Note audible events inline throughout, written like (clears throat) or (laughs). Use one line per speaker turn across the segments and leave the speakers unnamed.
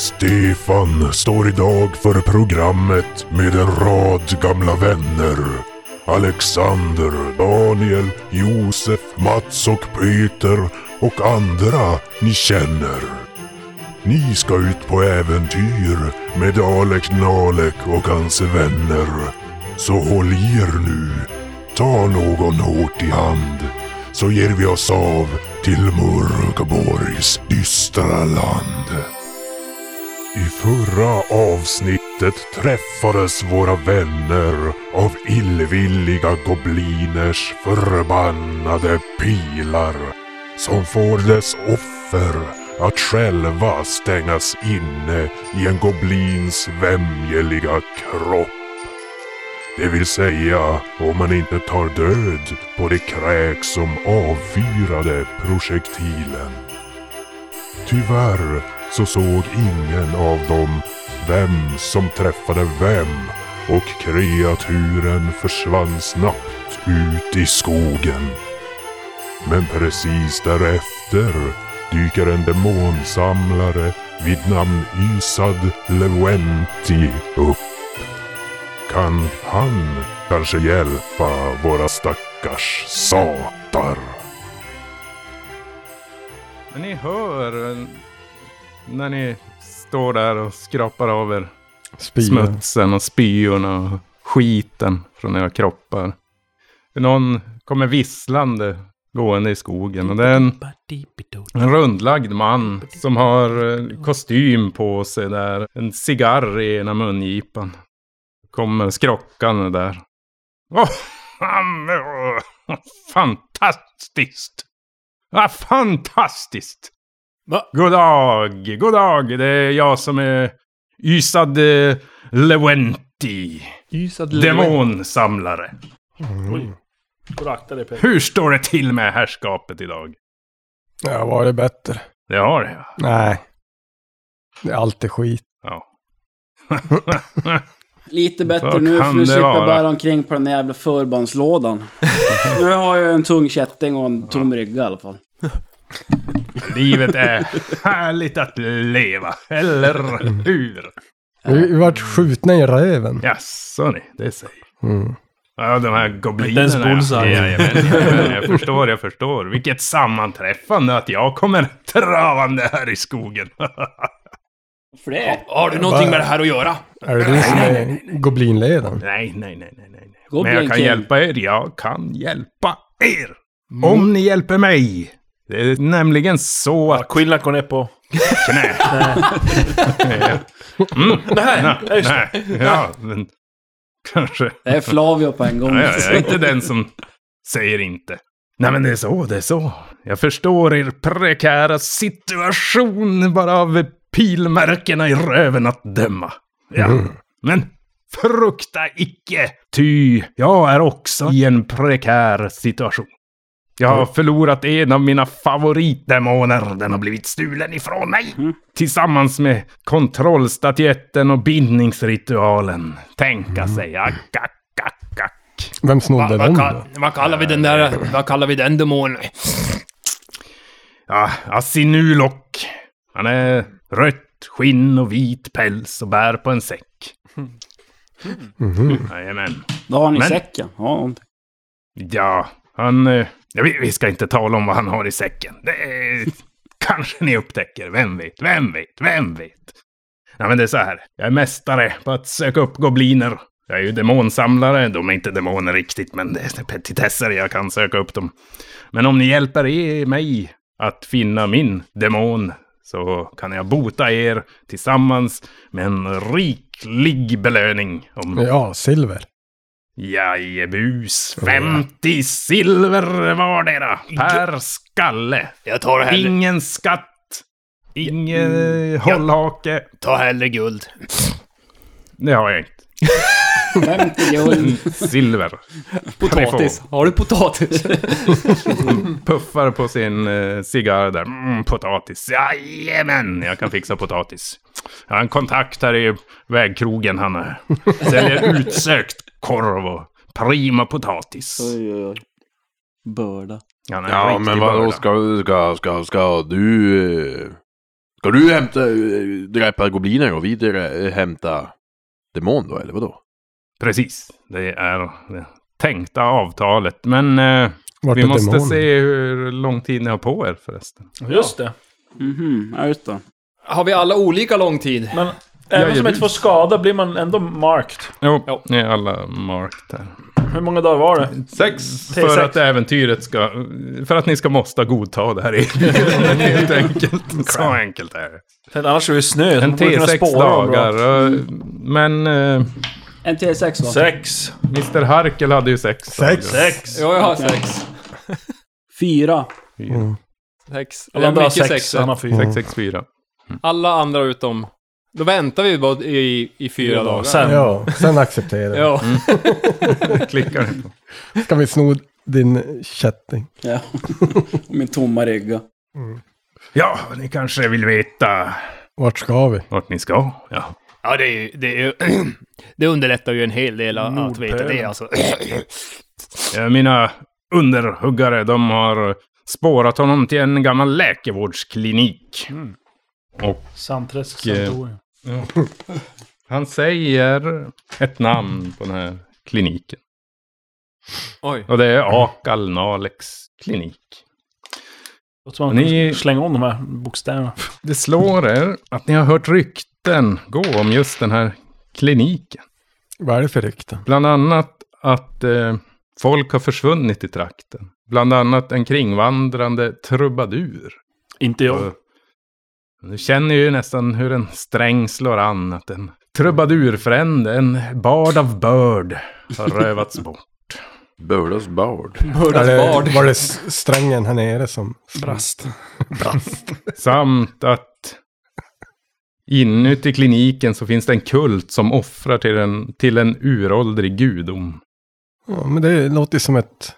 Stefan står idag för programmet med en rad gamla vänner. Alexander, Daniel, Josef, Mats och Peter och andra ni känner. Ni ska ut på äventyr med Alek Nalek och hans vänner. Så håll i er nu. Ta någon hårt i hand så ger vi oss av till Mörkborgs dystra land. I förra avsnittet träffades våra vänner av illvilliga gobliners förbannade pilar som får dess offer att själva stängas inne i en goblins vämjeliga kropp. Det vill säga om man inte tar död på det kräk som avfyrade projektilen. Tyvärr så såg ingen av dem vem som träffade vem och kreaturen försvann snabbt ut i skogen. Men precis därefter dyker en demonsamlare vid namn Ysad Lewenti upp. Kan han kanske hjälpa våra stackars satar?
Men ni hör eh, när ni står där och skrapar av er
Spya.
smutsen och spyorna och skiten från era kroppar. Någon kommer visslande gående i skogen och det är en, en rundlagd man som har eh, kostym på sig där. En cigarr i ena mungipan. Kommer skrockande där. Åh, fan, åh, fantastiskt! Ah, fantastiskt!
Va?
God dag, god dag. Det är jag som är Ysad eh, Lewenti.
Ysad
Demonsamlare.
Oj. Får du akta dig Peter.
Hur står det till med herrskapet idag?
Ja, var det bättre?
Det har jag.
Nej. Det är alltid skit.
Ja.
Lite bättre
Vad
nu
kan
för nu
det
slipper
vara?
jag bära omkring på den där
(laughs)
jävla förbandslådan. nu har jag en tung kätting och en tom rygga i alla fall.
Livet är härligt att leva, eller hur?
Vi, vi vart skjutna i röven.
Jaså ni, det säger.
Mm.
Ja, de här goblinerna.
Inte ens bullseye.
Ja, jajamän, jajamän, jag förstår, jag förstår. Vilket sammanträffande att jag kommer travande här i skogen. (laughs)
För det?
Har du någonting med det här att göra?
Är det du som är goblinledaren?
Nej, nej, nej, nej, nej. nej.
Goblin
Men jag kan
King.
hjälpa er. Jag kan hjälpa er.
Mm.
Om ni hjälper mig. Det är nämligen så att...
Skillnad går ner på... (laughs)
Knä.
Nej, just det.
nej, ja, men... Kanske.
Det är Flavio på en gång.
Ja, (laughs) jag är inte den som säger inte. Nej, men det är så, det är så. Jag förstår er prekära situation bara av pilmärkena i röven att döma. Ja, men frukta icke, ty jag är också i en prekär situation. Jag har förlorat en av mina favoritdemoner. Den har blivit stulen ifrån mig. Tillsammans med kontrollstatyetten och bindningsritualen. Tänka sig, ack, ack, ack, ack.
Vem snodde den
Vad,
då?
kall, vad kallar vi den där... Vad kallar vi den demonen?
Ja, Asinulok. Han är rött skinn och vit päls och bär på en säck. Jajamän.
Då har ni
Men-
säcken. Ja, någonting.
Ja, han... eh, Ja, vi, vi ska inte tala om vad han har i säcken. Det är, (laughs) kanske ni upptäcker. Vem vet, vem vet, vem vet? Ja, men det är så här. Jag är mästare på att söka upp gobliner. Jag är ju demonsamlare. De är inte demoner riktigt, men det är petitesser. Jag kan söka upp dem. Men om ni hjälper er, mig att finna min demon så kan jag bota er tillsammans med en riklig belöning om
Ja, silver.
Jajebus, 50 silver vardera per skalle.
Jag tar hellre...
Ingen skatt, ingen hållhake.
Ta hellre guld.
Det har jag inte. (laughs)
50 guld.
Silver.
Potatis. Har du potatis?
(laughs) Puffar på sin eh, cigarr där. Mm, potatis. Jajamän, jag kan fixa potatis. Jag har en kontakt här i vägkrogen han är. Säljer utsökt korv och prima potatis.
Oj, oj, oj. Börda.
Han är en
Ja,
riktig
men vadå,
börda.
ska, ska, ska, ska du... eh, Ska du hämta, eh, dräpa gobliner och vi drä, hämta demon då, eller vadå?
Precis. Det är det tänkta avtalet. Men eh,
Vart
vi
är
måste
demonen?
se hur lång tid ni har på er förresten.
Just det.
Mhm, ja just det.
Har vi alla olika lång tid?
Men även som
Jajamän.
inte får skada blir man ändå marked.
Jo, ni är alla marked här.
Hur många dagar var det?
Sex
Säg
för
sex.
att äventyret ska... För att ni ska måste godta det här erbjudandet (laughs) helt enkelt. Så enkelt är det.
Men annars är det snö. så
En
man borde kunna
T6
spåra dem bra.
dagar. och- Men eh,
En T6 va?
Sex.
Mr Harkel hade ju sex.
Sex.
dagar.
Sex.
Ja, jag har sex.
Fyra.
Mm.
Sex. Det
Alla
är
andra har
mycket sex.
sex, han har fyra.
Sex, sex, fyra.
Alla andra utom... Då väntar vi bara i, i fyra dagar.
Sen.
Ja, sen accepterar jag.
Mm.
Ja.
Klickar ni på.
Ska vi sno din kätting?
Ja. (laughs) Och Min tomma rygga.
Ja, ni kanske vill veta
Vart ska vi?
vart ni ska. Ja.
Ja, det, är, ju- det, är, ju- (clears throat) det underlättar ju en hel del att att veta det alltså. (clears throat)
Eh, Mina underhuggare, de har spårat honom till en gammal läkarvårdsklinik.
Sandträsk.
Och, eh,
Santorin.
Han säger ett namn på den här kliniken.
Oj.
Och det är Akal Nalex klinik.
Låter som att man
ni-
slänger om de här bokstäverna.
Det slår er att ni har hört rykten gå om just den här kliniken.
Vad är det för rykte?
Bland annat att eh, folk har försvunnit i trakten. Bland annat en kringvandrande trubadur.
Inte jag.
Du känner ju nästan hur en sträng slår an. Att en trubadurfrände, en bard av börd,
(laughs)
har rövats bort.
Bördas bard.
Var
Mördas
det,
bard.
var det s- strängen här nere som... (laughs) Brast.
Samt att inuti kliniken så finns det en kult som offrar till en, till en uråldrig gudom.
Ja, men det låter ju som ett,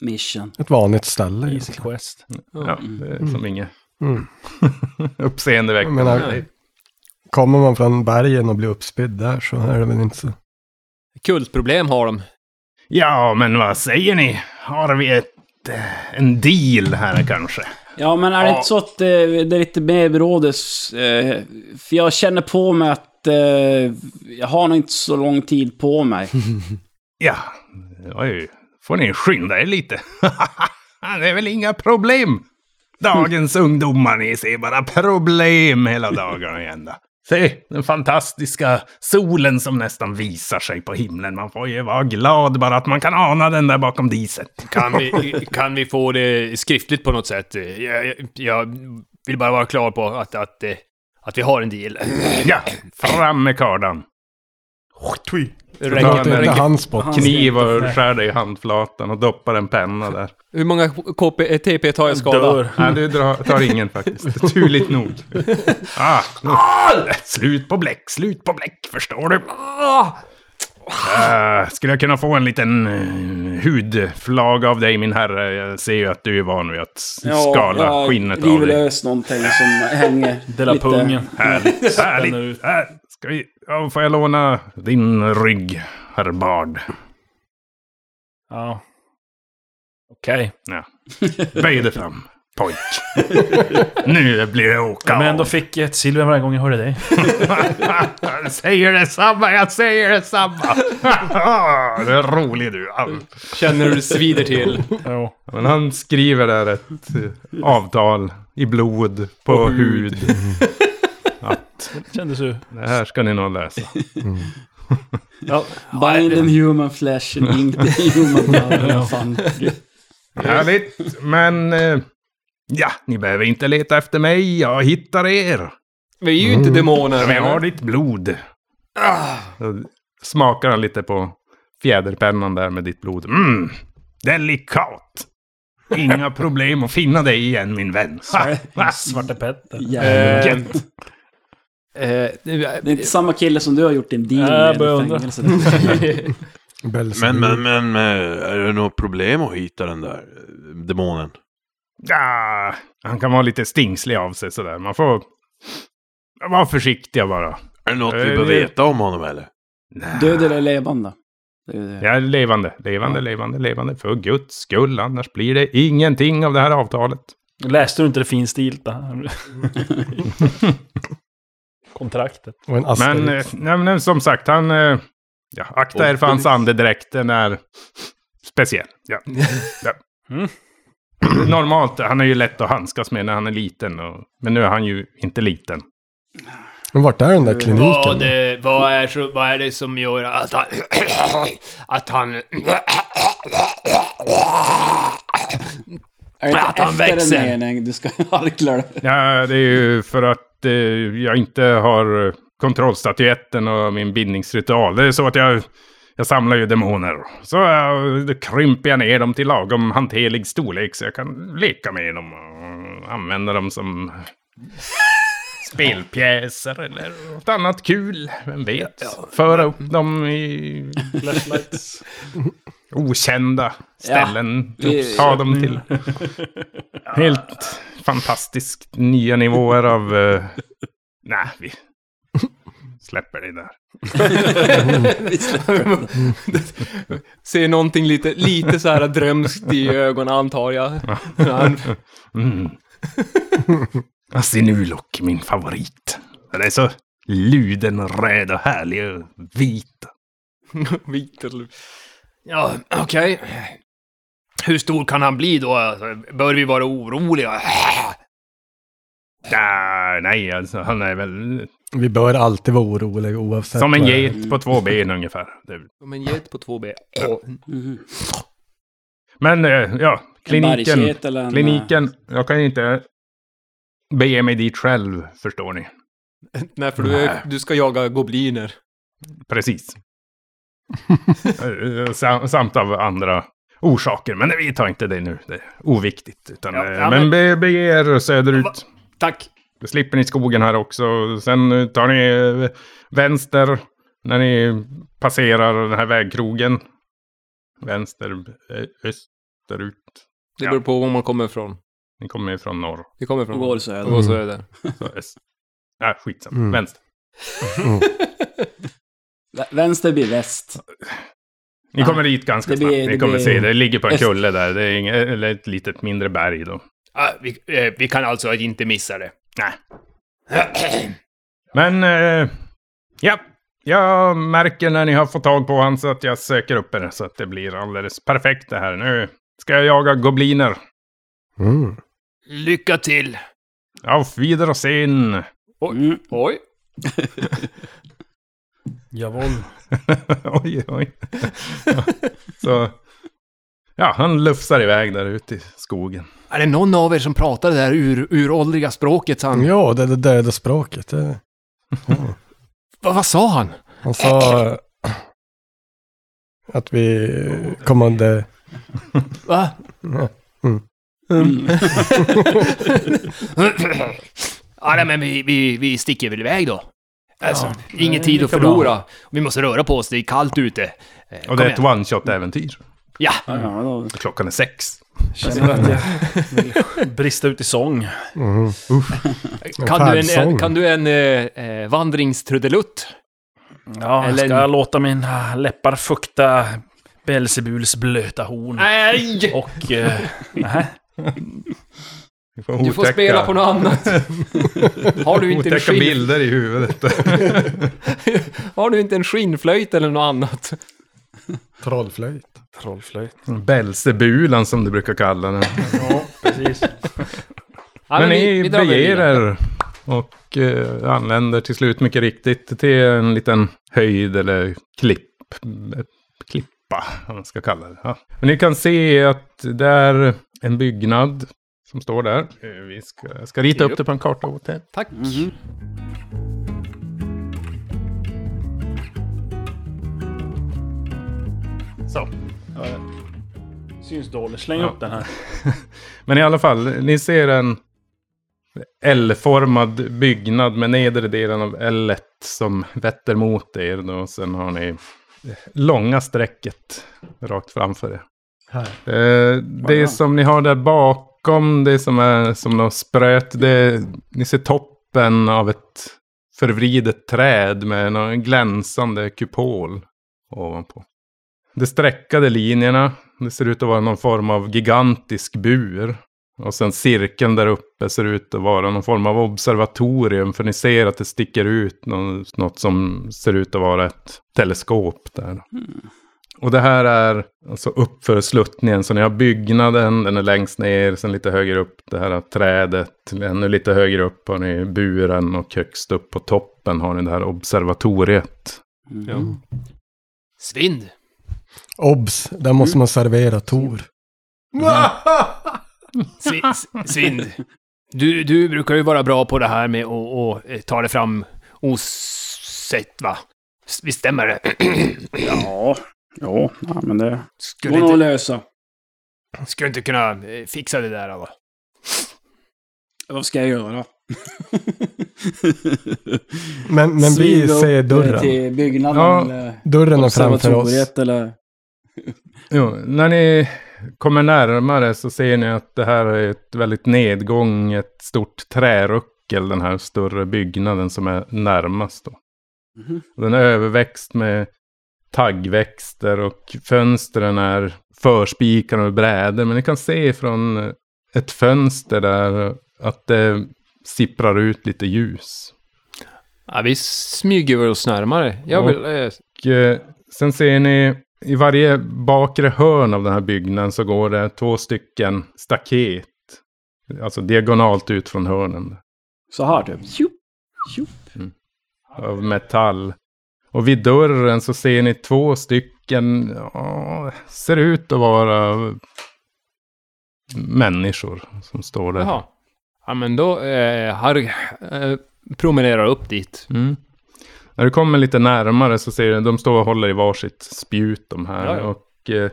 Mission.
ett vanligt ställe. liksom.
Easy quest.
Ja, det är som inget
Mm. Jag
uppseendeväckande.
menar, kommer man från bergen och blir uppspydd där så är det väl inte så...
Kultproblem har de.
Ja, men vad säger ni? Har vi ett, eh, en deal här kanske?
Ja, men är det inte så att eh, det, det är lite mer brådes? Eh, för jag känner på mig att eh, jag har nog inte så lång tid på mig.
Ja, oj, får ni skynda er lite. (laughs) det är väl inga problem. Dagens ungdomar, ni ser bara problem hela dagarna igen. då. Se, den fantastiska solen som nästan visar sig på himlen. Man får ju vara glad bara att man kan ana den där bakom diset.
Kan vi, kan vi få det skriftligt på något sätt? Jag, jag- jag vill bara vara klar på att, att, eh, att vi har en deal.
Ja, fram med kardan.
Det låter inte
en
hans spott.
kniv och skär dig i handflatan och doppar en penna där.
Hur många KP, eh, TP tar jag skada?
Dör.
Nej, du drar, tar ingen faktiskt. Turligt nog. Ah, nu. Slut på bläck, slut på bläck, förstår du? Ah, skulle jag kunna få en liten eh, hudflaga av dig, min herre? Jag ser ju att du är van vid att s- skala skinnet
av
av dig.
lös någonting som hänger
(laughs) Dela pungen.
Härligt,
Spänner ut.
härligt. Här, ska vi, ja, får jag låna din rygg, herr Bard?
Ja. Okej.
Ja. Böj dig fram,
(laughs)
pojk. nu blir det åka
Men
av.
ändå fick jag ett silver varje gång jag hörde dig.
jag (laughs) säger detsamma, jag säger (laughs) detsamma! du är rolig du.
Känner du det svider till?
Jo.
Men han skriver där ett eh, avtal i blod, på hud. Att
Kändes ju...
det här ska ni nog läsa.
Ja.
Bind in human flesh and ink
(laughs)
the human blood. Vad fan.
Härligt, men eh, ja, ni behöver inte leta efter mig, jag hittar er.
Vi är ju inte demoner.
Men jag har ditt blod. Då smakar han lite på fjäderpennan där med ditt blod. Mm, delikat. Inga problem att finna dig igen min (laughs) vän. Ha, ha.
Svarte Petter.
Jävlar.
Gött.
Eh, nu-
Det är inte samma kille som du har gjort din deal
Jag
med
börjar
i
undra.
fängelset.
Men, men, men, men, är det något problem att hitta den där eh, demonen?
Ja, ah, han kan vara lite stingslig av sig sådär. Man får vara försiktiga bara.
Är det något vi
Eh,
behöver
det-
veta om honom eller?
(laughs) Död eller levande? Det är det.
Jag är levande, levande, levande, levande. För guds skull, annars blir det ingenting av det här avtalet.
Läste du inte det finstilta?
(laughs)
Kontraktet.
Och en asterix.
Men, eh, nej, men som sagt, han... eh, Ja, akta er för hans andedräkt. Den är speciell. Ja. ja.
Mm.
Normalt, han är ju lätt att handskas med när han är liten. Och, men nu är han ju inte liten.
Men vart är den där kliniken?
Vad, eh, vad, är, så- vad är det som gör att han... (coughs) Att han...
Är
Äh,
det
Att han
efter en
växer.
mening du ska (laughs) harkla dig?
Ja, det är ju för att eh, jag inte har eh, kontrollstatyetten och min bindningsritual. Det är så att jag, jag samlar ju demoner. Så eh, då krymper jag ner dem till lagom hanterlig storlek så jag kan leka med dem och använda dem som spelpjäser eller något annat kul. Vem vet? Föra upp dem i okända ställen.
Vi-
Ta dem till (laughs) helt fantastiskt nya nivåer av... eh, nej, vi släpper det där.
Ser någonting lite, lite så här drömskt i ögonen antar jag. Han,
Mm. Asinulok, min favorit. Den är så luden, röd och härlig och vit.
vit eller-
Ja, okej. Hur stor kan han bli då? Alltså, Bör vi vara oroliga?
Ah, nej, alltså, han är väl
Vi bör alltid vara oroliga oavsett.
som en
vad-
get på två ben ungefär. Det-
Som en get på två ben.
Mhm.
Men eh, ja,
En eh,
kliniken.
bergsget eller en,
Kliniken. Jag kan ju inte bege mig dit själv, förstår ni.
Nej, för du, är, du ska jaga gobliner.
(laughs)
Precis. Eh, sam- Samt av andra orsaker. Men vi tar inte det nu. Det är oviktigt. Utan,
Ja,
eh,
ja,
men
men-
be- bege er söderut.
Tack.
Då slipper ni skogen här också. Sen eh, tar ni eh, vänster när ni passerar den här vägkrogen. Vänster, eh, österut.
Det
Ja.
beror på var man kommer ifrån.
Ni kommer ju från norr.
Vi kommer
eh,
från
Och går så här.
Och går
Mm.
söder.
Så
(laughs)
öst. Nej, skitsamma.
Mm.
Vänster.
Vä- Vänster blir
(laughs)
väst.
Ni
Ja.
kommer dit ganska
Det blir-
snabbt.
det
Ni kommer
blir-
se, det ligger på en
öst.
kulle där. Det är inga, eller ett litet mindre berg då.
Ah, vi, eh, vi kan alltså inte missa det. (clears throat)
Men, eh, ja. Jag märker när ni har fått tag på honom så att jag söker upp er så att det blir alldeles perfekt det här. Nu ska jag jaga gobliner.
Mm.
Lycka till.
Auf Wiedersehen! (laughs)
Mm.
Oj!
Jawohl.
oj,
(laughs)
oj. så, ja, han lufsar iväg där ute i skogen.
Är det någon av er som pratar det där ur, uråldriga språket? sa Han,
Ja, det, det döda språket. Det,
vad, vad sa han?
han sa eh, att vi kommande... (laughs) Mm.
Va? (laughs)
Ja.
Mm.
Mm.
ja, Ah, nej, men vi, vi, vi sticker väl iväg då. Alltså, ingen tid att
lika bra.
förlora. Vi måste röra på oss, det är kallt ute. Eh,
Och
kom
det är ett
igen.
one-shot-äventyr.
Ja,
Ja, ja, då.
Klockan är sex.
Känner att jag vill Alltså, (laughs) brista ut i sång.
Mm.
Kan du en,
färdsång.
en, kan du en eh, eh, vandringstrudelutt?
Ja,
Eller-
ska jag låta mina läppar fukta Belzebuls blöta horn?
Nej!
Och... Eh, nähä.
Vi får
Du får
otäcka-
spela på något
(laughs)
annat. Har du inte en,
Otäcka
skinn,
bilder i huvudet. (laughs)
har du inte en skinnflöjt eller något annat?
Trollflöjt.
Trollflöjt.
Belsebulan som du brukar kalla den.
Ja, precis.
Ja,
Men
vi-
ni
vi drar väl
beger
vidare.
er och eh, anländer till slut mycket riktigt till en liten höjd eller klipp, eh, klippa, vad man ska kalla det. Ja. Men ni kan se att det är en byggnad som står där. Eh, Vi ska, jag ska rita upp det på en karta åt er.
Tack.
Så. Syns dåligt. Släng upp den här.
Men i alla fall, ni ser en L-formad byggnad med nedre delen av L som vetter mot er. Då. Sen har ni långa strecket rakt framför er. Eh, det som ni har där bakom, det som är som något spröt, det, ni ser toppen av ett förvridet träd med en glänsande kupol ovanpå. De streckade linjerna, det ser ut att vara någon form av gigantisk bur. Och sen cirkeln där uppe ser ut att vara någon form av observatorium. För ni ser att det sticker ut nå- något som ser ut att vara ett teleskop där. Och det här är alltså uppför sluttningen. Så ni har byggnaden, den är längst ner, sen lite högre upp det här trädet. Ännu lite högre upp har ni buren och högst upp på toppen har ni det här observatoriet.
Mm.
Svind!
Obs, där måste man servera Tor.
Svi- s- Svind! Du, du brukar ju vara bra på det här med att att, eh, ta det fram osett, va? S- Visst stämmer det? (clears throat)
Ja. Jo, ja, men det
Skulle
går nog att
inte,
lösa.
skulle inte kunna eh, fixa det där, va?
Vad ska jag göra?
Men, men vi
Svinga upp
ser
det
dörren.
Till byggnaden
Ja,
eller
Dörren är framför
(laughs)
oss.
observatoriet eller...
Jo, när ni kommer närmare så ser ni att det här är ett väldigt nedgång, ett stort träruckel, den här större byggnaden som är närmast. Då.
Mhm.
Den är överväxt med taggväxter och fönstren är förspikade med brädor. Men ni kan se från ett fönster där att det sipprar ut lite ljus.
Ja, vi smyger oss närmare. Jag vill... Eh,
Och eh, sen ser ni i varje bakre hörn av den här byggnaden så går det två stycken staket. Alltså diagonalt ut från hörnen.
Så här typ. Tjup.
Av metall. Och vid dörren så ser ni två stycken, ja, ser ut att vara människor som står där.
jaha. Ja, men då... Eh, Harry eh, promenerar upp dit.
Mm. När du kommer lite närmare så ser du, de står och håller i varsitt spjut de här.
Ja, ja.
Och eh,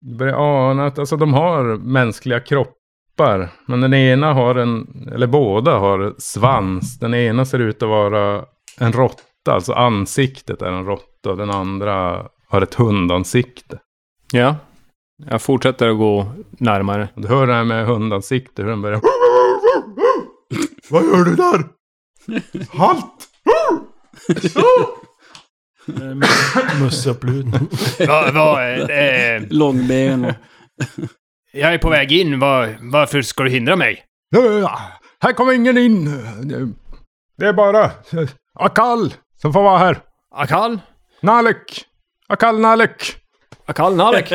du börjar ana att alltså, de har mänskliga kroppar. Men den ena har en, eller båda har svans. Den ena ser ut att vara en råtta, alltså ansiktet är en råtta. Och den andra har ett hundansikte.
Ja. Jag fortsätter att gå närmare.
Och du hör det här med hundansikte, hur den börjar...
Vad gör du där? Halt!
Musseuppluden.
(laughs) Va, va, eh, eh,
Långben och...
jag är på väg in, va, varför ska du hindra mig?
Ja, Här kommer ingen in! Det är bara eh, Akal som får vara här.
Akal?
Nalek! Akal Nalek!
Akal Nalek?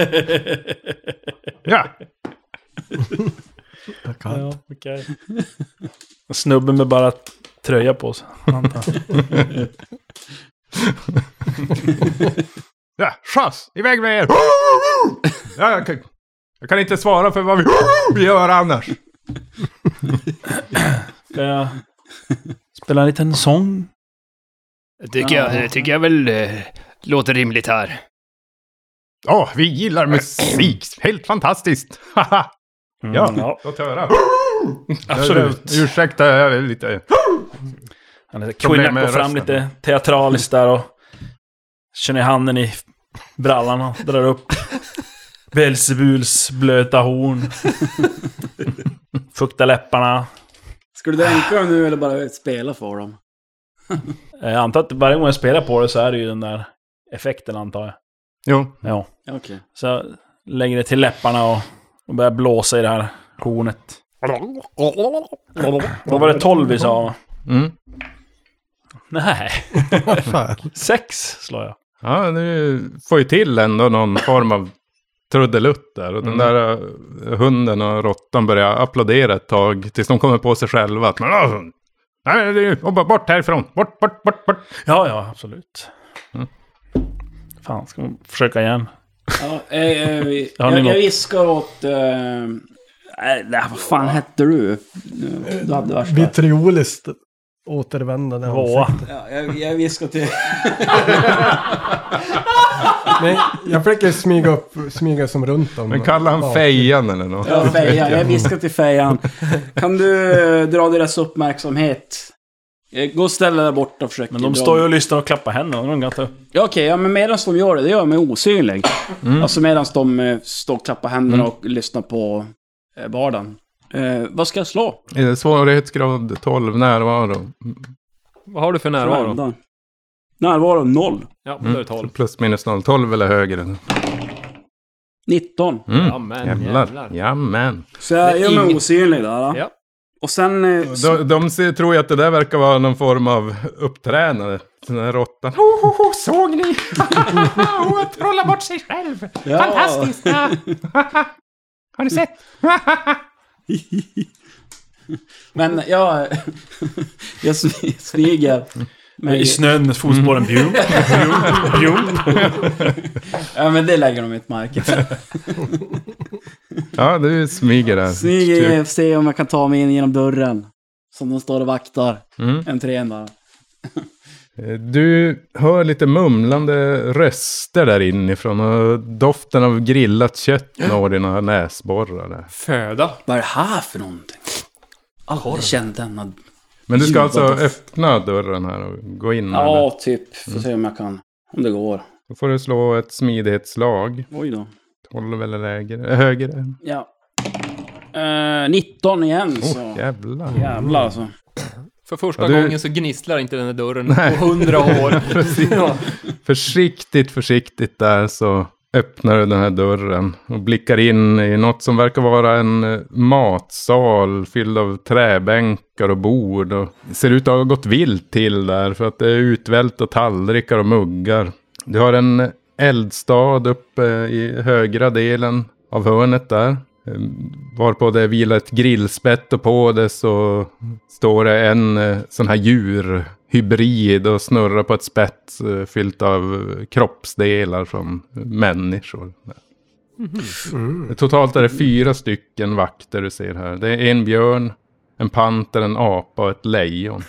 (laughs) Ja!
Ja, okej. Snubben med bara tröja på sig. antar jag.
Ja, schas! Iväg med er! Ja, jag, kan, jag kan inte svara för vad vi, vi (laughs) gör annars.
Ska jag spela en liten sång?
Det tycker, jag, det tycker jag väl eh, låter rimligt här.
Ja, vi gillar musik. Helt fantastiskt. Haha. ja,
Mm,
låt höra.
absolut.
Ursäkta, jag är lite...
Han är
Problem
Quinnack
med
går fram
rösten.
lite teatraliskt där och känner handen i brallan och
(laughs)
drar upp Belzebuls blöta horn. Fuktar läpparna.
Ska du dränka dem nu eller bara spela för dem?
Eh, Jag antar att varje gång jag spelar på det så är det ju den där effekten antar jag.
Jo.
Ja.
Ja, Okej.
Så jag lägger det till läpparna och, och börjar blåsa i det här hornet. Då var det 12 vi sa va?
Mm.
Nej,
Vad fan.
sex slår jag.
Ja, du får ju till ändå någon form av trudelutt där. Och den där eh, hunden och råttan börjar applådera ett tag tills de kommer på sig själva. Att, "Men, alltså, nej, nej, det är ju- bort härifrån! Bort, bort, bort, bort!
Ja, ja, absolut. Mm. Fan, ska man försöka igen?
Ja, eh, eh, vi-
Har ni
jag, jag
något?
viskar åt... Eh, nej, nej, vad fan hette du? Du hade värsta...
Vitrioliskt återvändande
Tvåa.
ansikte.
Ja, jag, jag viskar till...
Men jag försöker smyga upp, smyga som runt dem.
Men kallar han
Ja.
fejan eller något?
Ja, fejan. Jag viskar till fejan. Kan du eh, dra deras uppmärksamhet? Eh, Gå och ställ dig där borta och försök
Men de
dra
står ju och lyssnar och klappar händerna. De kan ta-
Ja, Okej, ja, men medan de gör det, det gör mig osynlig. Alltså medan de eh, står och klappar händerna och lyssnar på eh, vardagen. Eh, vad ska jag slå?
Eh, Svårighetsgrad 12, närvaro.
Vad har du för närvaro?
Varenda. Närvaro noll.
Ja, då är
Mm.
det 12.
Plus minus noll 12 eller högre.
19.
Mm.
Jamen, jävlar.
Jävlar. Jamen.
Så jag
Men
gör mig
ing-
osynlig där. då.
Ja.
Och sen... eh, så-
De, de ser, tror ju att det där verkar vara någon form av upptränande. Den där råttan. Oh, oh, oh, såg ni? oh, trolla bort sig själv.
Ja.
Fantastiskt. Ja.
(laughs)
Har ni sett?
Men jag... (laughs) jag sm- smyger. mig-
I snön, fotspåren bjum, bjum, bjum.
Ja men det lägger de inte märke till.
ja, du smyger där.
Smyger och ser om jag kan ta mig in genom dörren. Som de står och vaktar.
Mm.
Entrén där.
Eh, Du hör lite mumlande röster där inifrån och doften av grillat kött når dina näsborrar. Där.
Föda.
Vad är det här för någonting? Aldrig känt denna...
Men du ska alltså
Ljuva doft.
öppna dörren här och gå in. eller?
Ja, typ. Får se om jag kan. Om det går.
Då får du slå ett smidighetslag.
Oj då.
12 eller lägre, äh, högre.
Ja. Eh, 19 igen så.
Oh, jävlar.
Jävlar alltså.
För första
Ja, du-
gången så gnisslar inte den där dörren
Nej.
på hundra år.
(laughs)
ja.
Försiktigt, försiktigt där så öppnar du den här dörren och blickar in i något som verkar vara en eh, matsal fylld av träbänkar och bord. Och ser ut att ha gått vilt till där för att det är utvälta tallrikar och muggar. Du har en eldstad uppe i högra delen av hörnet där. eh, Varpå det vilar ett grillspett och på det så står det en eh, sån här djurhybrid och snurrar på ett spett eh, fyllt av eh, kroppsdelar från människor. Totalt är det fyra stycken vakter du ser här. Det är en björn, en panter, en apa och ett lejon.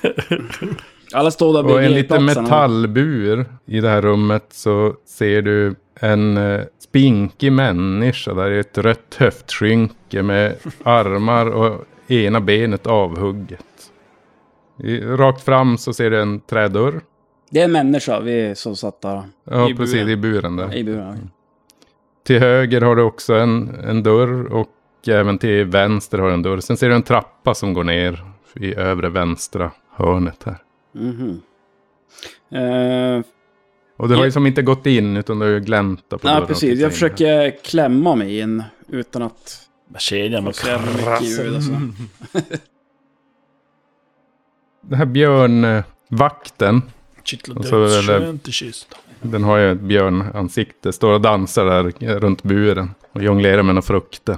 Alla står där
Och en
bredvid
liten
platsen.
metallbur i det här rummet så ser du en eh, spinkig människa där i ett rött höftskynke
(laughs)
med armar och ena benet avhugget. I, rakt fram så ser du en trädörr.
Det är en människa vi som satt där
Ja,
I
precis
buren.
i buren där.
i buren.
Till höger har du också en, en dörr och även till vänster har du en dörr. Sen ser du en trappa som går ner i övre vänstra hörnet här.
Mhm. Eh,
Och du har ju
Ja.
som inte gått in utan du har ju gläntat på dörren.
nej,
och
precis.
tittat in
Jag
här.
försöker klämma mig in utan att
Kedjan
få
och
så jävla mycket ljud. Alltså.
Den här björnvakten, Och så är det-
kittlar skönt i kistan.
den har ju ett björnansikte, står och dansar där runt buren och jonglerar med några frukter.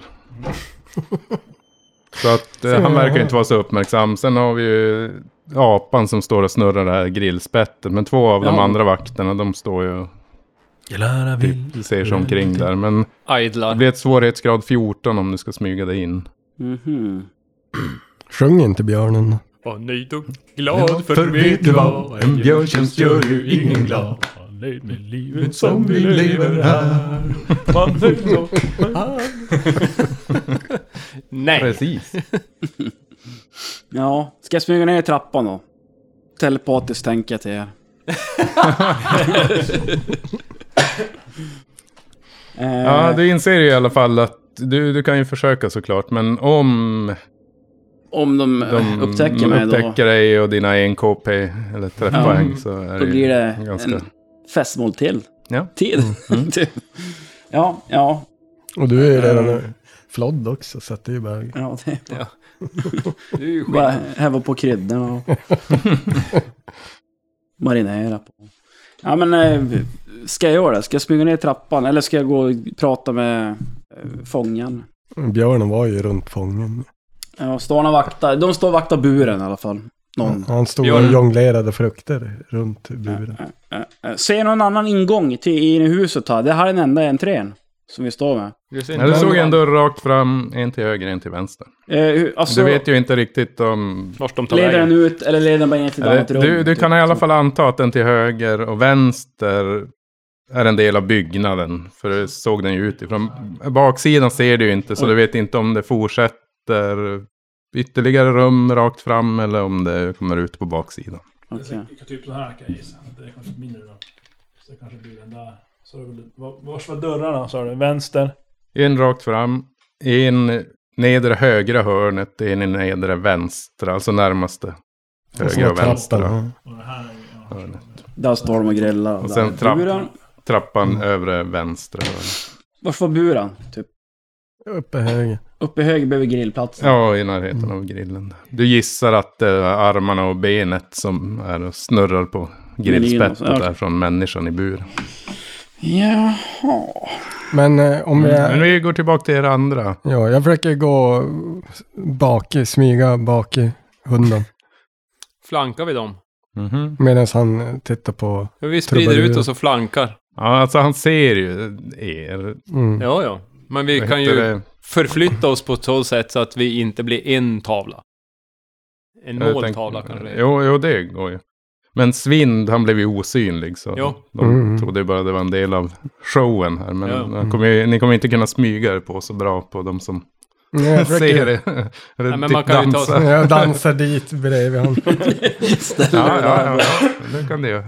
Så att eh, han verkar ju inte vara så uppmärksam. Sen har vi ju apan som står och snurrar det här grillspettet. Men två av de
Ja.
andra vakterna, de står ju och typ
Gillar vill.
ser sig omkring där. Men det
Idlar.
blir ett svårighetsgrad 14 om du ska smyga dig in.
Mhm.
Sjung inte björnen.
Var nöjd och glad för vet du vad? En björntjänst gör ju ingen glad.
Nöjd med livet som vi lever här. Man
Nej.
Precis.
Ja, ska jag smyga ner i trappan då? Telepatiskt tänker jag
(laughs)
till er. Eh,
Ja, du inser ju i alla fall att du, du kan ju försöka såklart. Men om
Om de, eh,
de
upptäcker mig då,
upptäcker dig och dina 1KP eller träffpoäng så är
då
ju
blir det
ganska...
en festmål (laughs) till.
Ja. Mm.
Tid. Typ. ja, ja,
Och du är ju redan flodd också, så att det är bara... (laughs)
ja. Det är
Ja. Du är ju skit.
bara häva på kryddorna och marinera på. Ja men, eh, ska jag göra det? Ska jag smyga ner i trappan? Eller ska jag gå och prata med eh, fången?
Björnen var ju runt fången.
Ja, står han och vaktar? De står och vaktar buren i alla fall. Någon.
Han stod och
Björnen.
jonglerade frukter runt buren.
Eh, eh, Ser någon annan ingång till, in i huset här? Det här är den enda entrén som vi står med.
Du ser
Nej, du
inte-
såg en dörr rakt fram, en till höger, en till vänster.
Eh, hur- alltså,
Du vet ju inte riktigt om...
Vart de tar
leder den
vägen.
ut eller leder den bara in till ett
Eller,
annat rum?
du, du
typ,
kan i alla
så.
fall anta att den till höger och vänster är en del av byggnaden. För du såg den ju utifrån. Baksidan ser du ju inte, så du vet inte om det fortsätter ytterligare rum rakt fram eller om det kommer ut på baksidan.
Okej.
Typ så här kan jag gissa. Det är kanske mindre då. Så det kanske blir den där. Så det är väl, var- vars var dörrarna sa du? Vänster?
En rakt fram, en nedre högra hörnet, en i nedre vänstra, alltså närmaste. Högra och vänstra
Alltså trappan.
Och det här är ju... Ja.
hörnet.
Där står de och grillar.
Och
Där
sen
är
trapp-
buren.
Trappan övre vänstra hörnet.
Vart var buren? Typ.
Uppe höger.
Uppe i höger bredvid grillplatsen.
Ja, i närheten av grillen. Du gissar att det är armarna och benet som är och snurrar på grillspettet
Menyn och så, ja.
där från människan i buren.
Jaha.
Men eh, om jag...
Men vi går tillbaka till er andra.
Ja, jag försöker gå bak i, smyga bak i hunden.
Flankar vi dem? Mm-hmm.
Mhm.
Medan han eh, tittar på...
Ja, Vi sprider
Trubadurer.
ut oss och flankar.
Ja, alltså han ser ju er.
Mm.
Ja, ja. Men vi
Vad
kan
heter
ju
det?
förflytta oss på ett sådant sätt så att vi inte blir en tavla. En
Jag
måltavla
tänker-
kanske det är.
Jo, jo, det går ju. Men Svind, han blev ju osynlig så
Jo.
de
Mm.
trodde ju bara det var en del av showen här. Men
Ja.
han kommer ju, ni kommer inte kunna smyga er på så bra på de som
Nej,
(laughs)
jag
ser
försöker...
det. Eller
men
typ
man kan ju ta
dansa.
sig-
Jag dansar dit bredvid honom.
Ja, ja, ja, det kan du ju.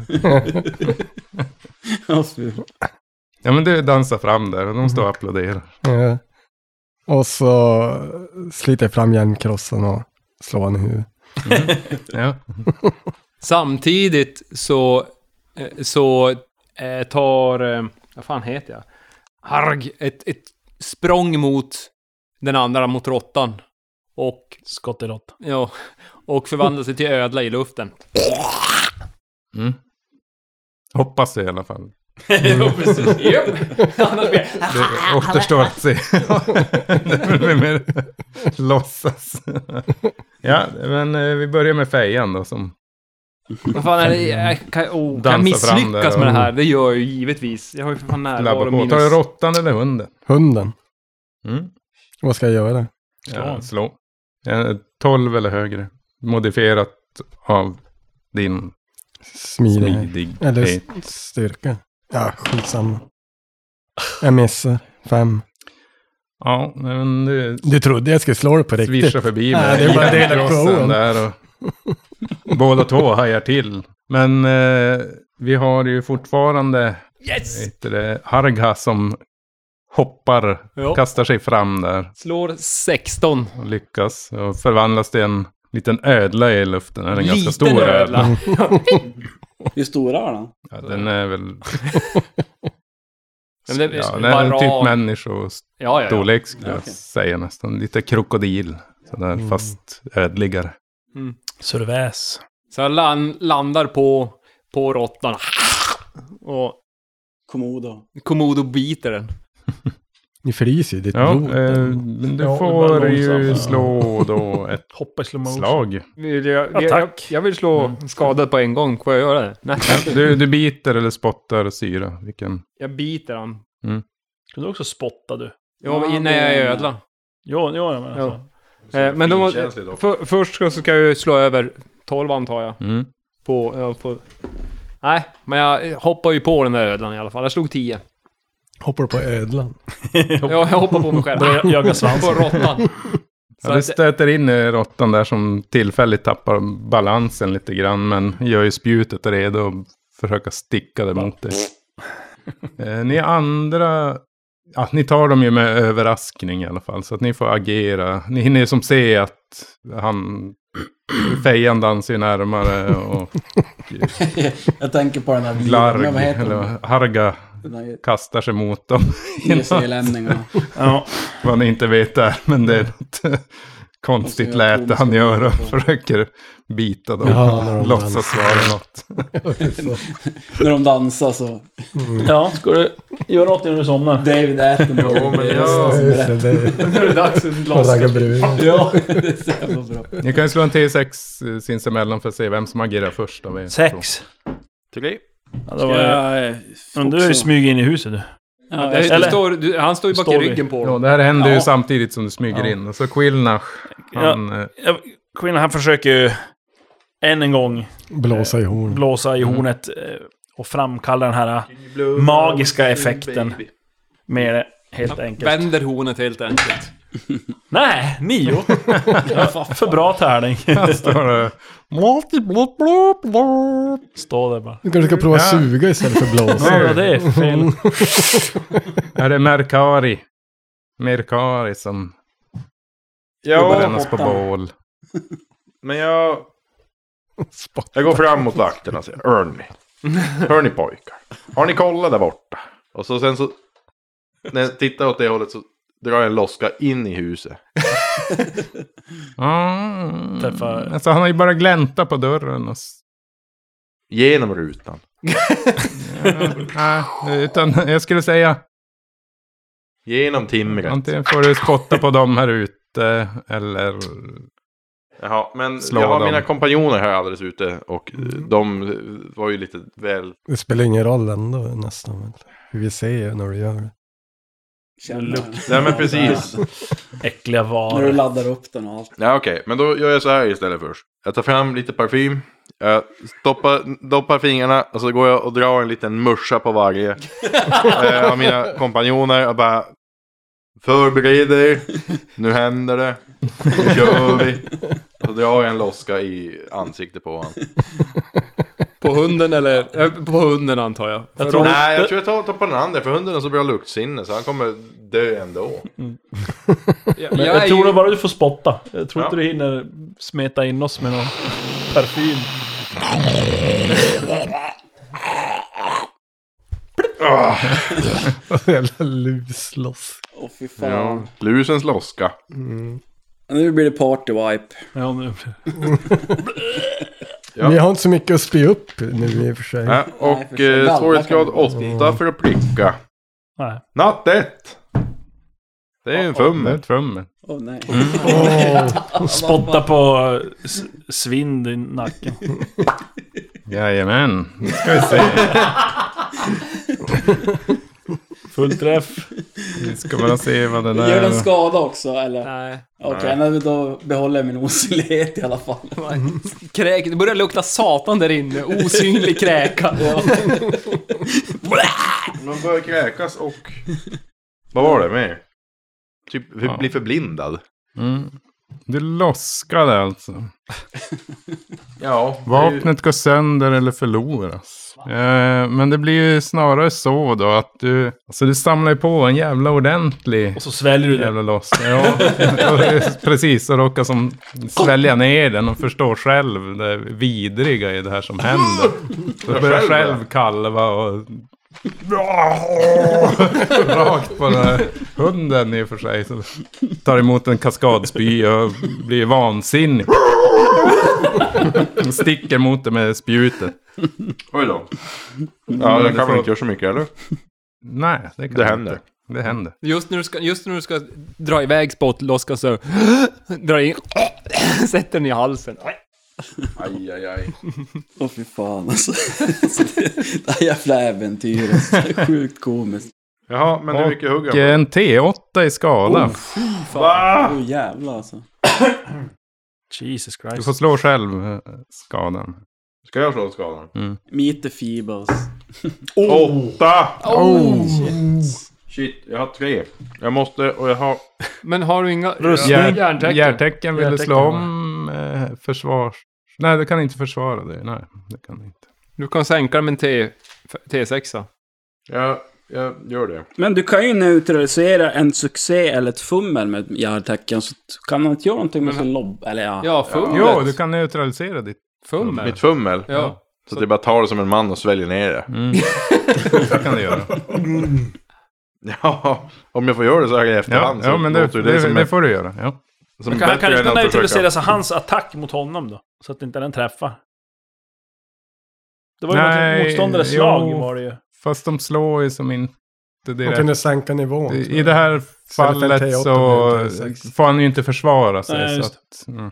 Ja, men du dansar fram där och de
Mm.
står och applåderar.
Ja. Eh, Och så sliter jag fram hjälmkrossen och slår honom i huvudet.
Ja.
Samtidigt så, eh, så eh, tar, eh, vad fan heter jag? Harg, ett, ett språng mot den andra, mot råttan. Och,
Skott i rått.
ja, och förvandlar sig till ödla
(laughs)
i luften.
Mm. Hoppas det i alla fall.
ja, precis. Japp.
(laughs)
Annars blir jag-
Det återstår att se. (laughs) det blir mer låtsas. ja, men eh, vi börjar med fejan då som...
Vad fan är det? Jag kan, oh, kan jag
Dansa fram där
misslyckas
och-
med det här? Det gör jag ju givetvis. Jag har ju för fan
Labbar
närvaro
på. Tar du
minus...
råttan eller hunden?
Hunden,
Mm.
vad ska jag göra?
Ja, slå. Eh, 12 eller högre. Modifierat av din
Smidighet. Eller
smidighet.
st- styrka. Ja, skitsamma. Jag missar. Fem.
Ja, men du
Du trodde jag skulle slå dig på riktigt?
svischar förbi med
Nej, det är bara en del av
krossen
showen.
där
(laughs)
och båda två hajar till. Men eh, vi har ju fortfarande
Yes!
heter det, Harga som hoppar,
Ja.
kastar sig fram där
Slår 16.
och lyckas och förvandlas till en liten ödla i luften. Den är en ganska
Liten
stor ödla.
ödla.
Hur stora är den?
Ja, den är väl
Men det är
ja, den är typ
varan.
människostorlek
Ja, ja, ja.
skulle jag
okej.
säga nästan. Lite krokodil, sådär,
Mm.
fast ödligare.
Surväs.
Så jag lan, landar på, på råttan. Och
Komodo.
Komodo biter den.
Ni fryser ju ditt
Ja,
blod.
eh, men du
Ja, det var
får ju
långsamt.
slå (laughs) då ett
Hoppa i slow motion.
slag.
Vill jag,
Ja,
jag,
tack.
jag vill slå skadad på en gång. Får jag göra det? Nej.
Du, du biter eller spottar syra. Vilken?
Jag biter han.
Kan du också spotta du?
Jo,
Ja,
innan
det-
jag är ödla.
Jo, jo jag menar
Ja.
så.
Eh, Men då, måste- för, först ska- så ska jag ju slå över 12 antar jag.
Mm.
På, ja, på... Nej, men jag hoppar ju på den där ödlan i alla fall. Jag
(laughs)
slog 10.
Hoppar på ödlan.
Ja, jag hoppar på mig själv.
Börjar jaga
(laughs)
svansen.
På råttan. Så
Ja, du
att,
stöter in i råttan där som tillfälligt tappar balansen lite grann. Men gör ju spjutet redo och försöker sticka det mot dig.
(laughs)
Eh, ni andra... Ja, ni tar dem ju med överraskning i alla fall. Så att ni får agera. Ni hinner ju som se att han... Fejan dansar ju närmare
(laughs)
och
Jag tänker på den här bilen.
Larg,
Men vad heter
eller
den?
vad- Harga
Den här
kastar sig mot dem.
EC-lämningarna.
Ja.
Vad ni inte vet där, men
Mm.
det är något (laughs) konstigt
Och så gör
läte han
Tom-
gör och försöker bita dem.
Ja, när de
Låtsas vara något.
När de dansar så.
Mm.
ja, ska du göra något innan du somnar?
David Attenborough.
Jo, men
Ja,
jag...
just det. det.
nu är det dags för ett
Och
glas.
raggar brud.
Ja, det är så jävla bra.
Ni kan ju slå en T6 eh, sinsemellan för att se vem som agerar först av er.
Sex.
Tre.
Ja, det var ju...
jag,
Men du är ju smyg in i huset du.
eh, ja,
Det-
jag,
du
Eller-
står, du, han står ju bak
Står
i
vi?
ryggen på
Ja,
dem.
det här händer ju
Ja.
samtidigt som du smyger
Ja.
in. Och så Quillnach, han... eh, (laughs)
Jag- Kvinnan han försöker ju än en gång
Blåsa i horn.
blåsa i
Mm.
hornet eh, och framkalla den här magiska effekten med det, helt enkelt.
Vänder hornet helt enkelt.
Nej, nio!
(laughs)
Ja, För bra tärning.
Han står där...
Stå där bara.
Du kanske ska prova
Ja.
suga istället för blåsa. Mm.
Ja, det är fel.
(laughs)
Här är Merkari. Merkari som...
Ja,
brännas på bål.
men jag...
Spott.
Jag går fram mot vakterna och säger
(laughs)
Hör ni, hör ni pojkar. Har ni kollat där borta? Och så sen så
när jag tittar åt det hållet så drar jag en loska in i huset.
Mm.
Träffar-
Alltså, han har ju bara glänta på dörren. Och... s-
Genom rutan.
Ja, nej, utan jag skulle säga,
Genom timret.
antingen får du spotta på dem här ute eller...
Jaha, men
Slå
jag har
dem. Mm.
mina kompanjoner här alldeles ute och eh, de eh, var ju lite väl...
Det spelar ingen roll ändå nästan. väl. För vi ser ju när du gör det. (laughs)
Nej men
(laughs)
precis.
Äckliga
När du
varor.
laddar upp den och allt.
Ja okej, men då gör jag så här istället först. Jag tar fram lite parfym. Jag stoppar, doppar fingrarna och så går jag och drar en liten muscha på varje
(laughs)
eh, av mina kompanjoner och bara Förbered er, nu händer det, nu kör vi. Så drar jag en loska i ansiktet på honom.
På hunden eller? eh, På hunden antar jag.
Jag tror
Nej, jag tror jag tar, tar på den andra för hunden har så bra luktsinne så han kommer dö ändå.
Jag,
Men
jag
jag
är
tror
ju...
det bara du får spotta. Jag tror
Ja.
inte du hinner smeta in oss med någon parfym.
Jävla lusloss.
(laughs) Åh fy fan.
Ja, lusens loska.
Nu blir det party wipe.
Ja, nu-
Ja.
Vi har inte så mycket att spy upp nu i och för sig.
Ja, och eh, svårighetsgrad 8 för att pricka.
Nej.
Natt 1! Det är ju en
Det är
fummel.
ett fummel.
Åh nej. (laughs)
Mm.
Spotta på eh, s- svind i nacken.
Jajamän. Nu ska vi se.
Full träff.
Nu ska bara se vad den
Gör den
är.
skada också eller?
Nej.
Okej, men då behåller jag min osynlighet i alla (laughs) fall.
Kräk. Det börjar lukta satan där inne. Osynlig kräka.
Man börjar kräkas och... (laughs) Vad var det med? Typ för, bli förblindad.
Mm. Du loskade alltså.
Ja.
Vapnet går sönder eller förloras. Eh, men det blir ju snarare så då att du... Alltså du samlar ju på en jävla ordentlig
Och så sväljer du det.
jävla loska. Ja, och- (laughs) precis. Och råkar som svälja ner den och förstår själv det vidriga i det här som händer. Du börjar
själv,
själv kalva (laughs) och... Rakt på den här hunden i och för sig. Så tar emot en kaskadspy och blir vansinnig. Sticker mot det med spjutet.
Oj då. Ja, den kan väl inte göra så mycket eller?
Nej, det kan
Det
jag
händer.
Inte. Det händer.
Just när du ska, just när du ska dra iväg spottloskan så... (gasps) Dra in... (clears throat) Sätter den i halsen.
Aj, aj, aj.
Åh fy fan alltså. Det här jävla äventyret. Det (laughs) är sjukt komiskt.
Jaha, men hur mycket hugger
Och
han?
en T8 i
Oh.
skada.
Åh jävlar alltså.
Jesus
Du
Christ.
får slå själv eh, skadan.
Ska jag slå skadan?
Meet the Feebles.
Åtta! Oh. Shit, jag har tre. Jag måste och jag har...
Men har du inga...
Rustning.
Järn-
Järntecken. Järntecken ville
Järntecken,
slå om eh, försvars... Nej, du kan inte försvara det. Nej, det kan du inte.
Du kan sänka den med en T, T6.
Jag, jag gör det.
Men du kan ju neutralisera en succé eller ett fummel med ett järntecken. Så kan man inte göra någonting med sin lobb? Eller ja.
Ja, fumlet.
Jo, du kan neutralisera ditt...
Fummel.
Mitt fummel.
Ja.
Så att jag bara tar det som en man och sväljer ner det.
Det kan du göra.
(laughs) Ja, om jag får göra det så här i
Ja,
efterhand
ja
så
men det,
låter
det,
det,
det,
som,
får du göra. Ja.
som
Kan, han kan
bättre
inte
än att
neutralisera
försöka.
så hans attack mot honom då? Så att inte den träffar. Det var ju
Nej,
något motståndares slag
jo.
var det ju.
Fast de slår ju som inte
Man
direkt.
kunde sänka nivån. tror
I
jag.
det här
för en
fallet
T8
så
blir det en T6.
får han ju inte försvara sig.
Nej,
så
just
att, mm.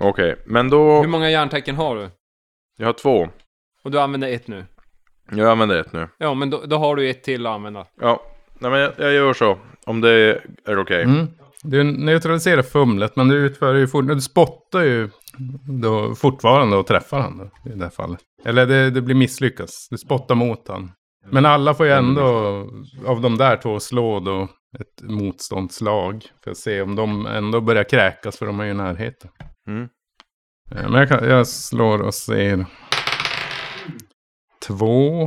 Okej, men
Hur
då...
många järntecken har du?
Jag har två.
Och du använder ett nu.
Jag använder ett nu.
Ja, men då, då har du ett till att använda.
Ja, nej men jag, jag gör så. Om det är okej.
Mm. Du neutraliserar fumlet, men du utför ju fortfarande... Du spottar ju då fortfarande och träffar han då, i det här fallet. Eller det, det blir misslyckas. Du spottar mot han. Men alla får ju
Mm.
ändå av de där två slå då ett motståndslag. För att se om de ändå börjar kräkas, för de är ju i närheten.
Mm.
Eh, Men jag, kan, jag slår och ser. Två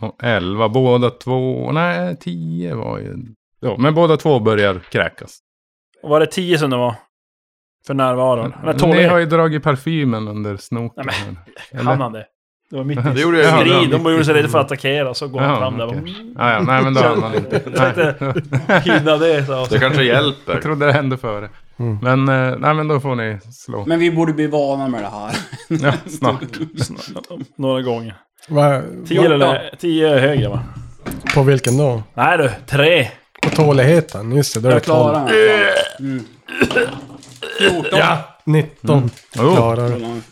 och elva. Båda två. Nej, tio var ju... Ja, men båda två börjar kräkas.
Och var det 10 som det var? För närvaron? Nej,
Ni har
12.
ju dragit parfymen under snoken.
Nej,
här.
Hann han det? Det var mitt i
Det gjorde jag ju.
strid. De gjorde sig redo för att attackera, så går han
Ja,
fram där. och
okej.
bara,
Ah, ja, nej men då hann han inte.
(laughs) Jag tänkte hinna det. Så.
Det kanske
Jag
hjälper.
trodde det hände före. Men, eh, nej men då får ni
(laughs)
slå.
Men vi borde bli vana med det här.
Ja, snart.
Några gånger.
Vad-
10 eller 10 högre va?
På vilken då?
Nej du, tre.
På tåligheten, just det. Då är det
Jag
klarar.
klarar
Eh,
mig.
19
Mm. Oh.
klarar du.
Mm.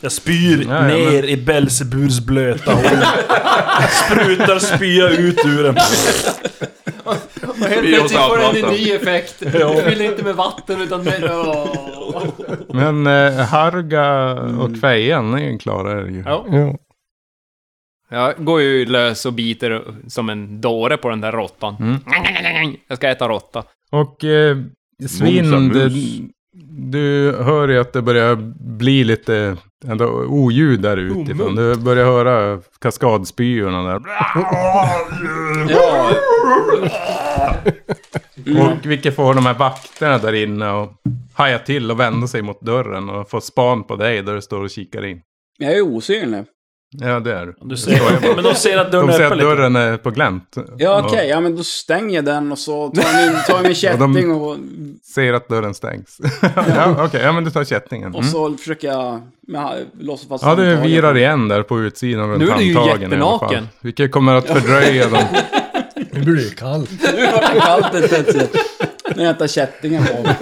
Jag spyr
Ja, ja,
ner i Belzeburs blöta hål. Sprutar spya ut ur den.
Och helt
Vi måste
plötsligt får den en
avprata.
ny effekt. Du fyller inte med vatten utan med... Åh.
Men eh, Harga och Fejan är ju klara är det ju.
Ja.
Jo.
Jag går ju lös och biter som en dåre på den där råttan.
Mm.
Jag ska äta råtta.
Och eh, Svind,
Mosa mus.
du, du hör ju att det börjar bli lite ändå, oljud där utifrån. Du börjar höra kaskadspyorna där.
Ja.
Och vilket får de här vakterna där inne att haja till och vända sig mot dörren och få span på dig där du står och kikar in.
Jag är osynlig.
Ja, det är du.
Du ser, men de ser att dörren
De
är
ser
öppen
att
lite.
dörren är på glänt.
Ja, okej. Ja, men då stänger jag den och så tar jag min, tar jag min kätting och,
Ser att dörren stängs. (laughs) ja, okej. Ja, men du tar kättingen.
och
Mm.
så försöker jag med, låsa fast
Ja, du
handtaget.
virar igen där på utsidan runt
Nu är du ju
handtagen i alla fall.
jättenaken.
Vilket kommer att fördröja dem.
Nu blir det kallt.
Nu vart det kallt helt plötsligt. När jag tar kättingen på mig.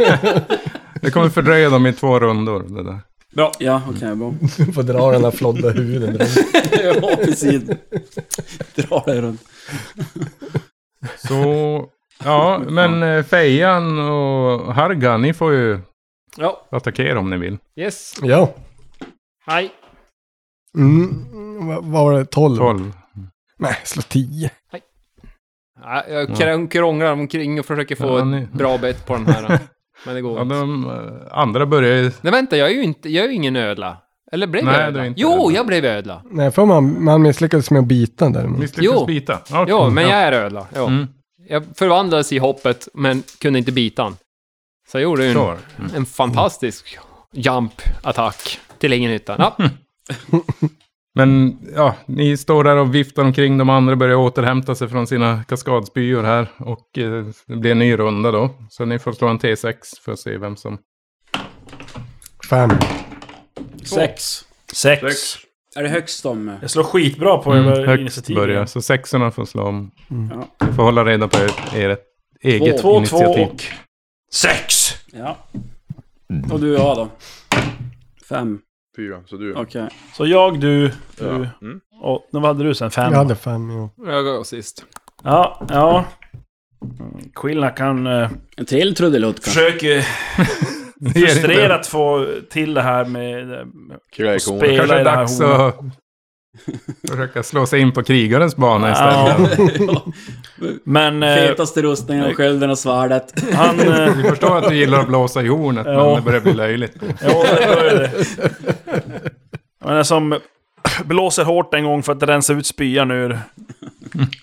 Det kommer fördröja dem i två rundor. Det där.
Ja, okej, bra.
Du får dra den här flodda huden.
(laughs) Ja, precis. Dra dig runt.
Så, ja, men eh, Fejan och Harga, ni får ju
Ja.
attackera om ni vill.
Yes.
Ja.
Hej.
Mm. Vad vad var det? 12?
12.
Nej, slå 10.
Ja, jag kr- krånglar omkring och försöker få
Ja, ni-
ett bra bett på
(laughs)
den här. Men det går
Ja,
inte.
de eh, andra börjar ju...
Nej vänta, jag är ju inte, jag är ju ingen ödla. Eller blev
Nej,
jag
du
ödla?
är inte
jo,
ödla.
jag blev ödla.
Nej, för man, man misslyckades med att bita den däremot.
Misslyckades
Jo.
bita. Okej.
Jo, men jag är ödla. Jo.
Mm.
Jag förvandlades i hoppet, men kunde inte bita han. Så jag gjorde ju en,
Sure. Mm.
en fantastisk jump-attack till ingen nytta.
(laughs)
Ja,
Men ja, ni står där och viftar omkring. De andra börjar återhämta sig från sina kaskadspyor här. Och eh, det blir en ny runda då. Så ni får slå en T6 för att se vem som...
5.
Sex.
Sex.
Är det högst om? eh,
Jag slår skitbra på
Mm.
över
Mm, högt
initiativ.
börjar. Så sexorna får slå om.
Ja.
Ni får hålla reda på ert, ert eget
Två, två
initiativ.
och... Sex!
Ja. Och du har då? Fem.
Fyra, så du.
Okej.
Så jag, du,
Ja.
du
Mm.
och... Vad hade du sen? Fem?
Jag hade 5, ja.
jag går sist.
Ja, ja. Mm, Quilla kan... Eh,
En till trudelutt kanske?
(laughs)
försöker
Ni är inte-
frustrerat få till det här med... eh,
Kräkon.
Spel.
Kanske
Hela
är
i det här
dags att försöka slå sig in på krigarens bana istället.
Ja, men eh,
Fetaste rustningen och skölden och svärdet.
(laughs)
han... Eh,
Vi förstår att du gillar att blåsa i hornet, men
Ja. Mm.
det börjar bli löjligt.
jo, det gör ju det. Men den som blåser hårt en gång för att rensa ut spyan ur,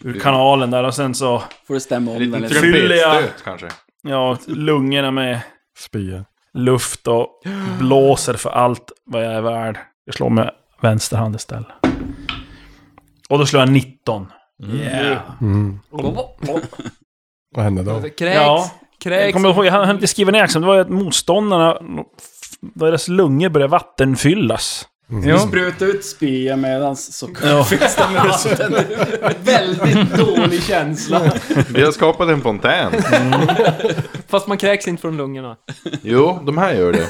ur kanalen där och sen så...
Får du stämma om
En
den
liten
lite.
tryck. Fyller jag-
trumpetstöt kanske.
Ja, lungorna med
Spya.
luft och blåser för allt vad jag är värd. Jag slår med vänster hand istället. Och då slår jag 19. Yeah.
Mm. Vad hände då?
Kräks.
Ja. Jag
Kräks.
kommer ihåg, jag hann inte skriva ner exakt, men det var ju att motståndarna, deras lungor började vattenfyllas.
Ja.
Spruta ut spya medans så (laughs) finns det med vatten. (laughs) Väldigt dålig känsla.
Vi har skapat en fontän.
Fast man kräks inte från lungorna.
Jo, de här gör det.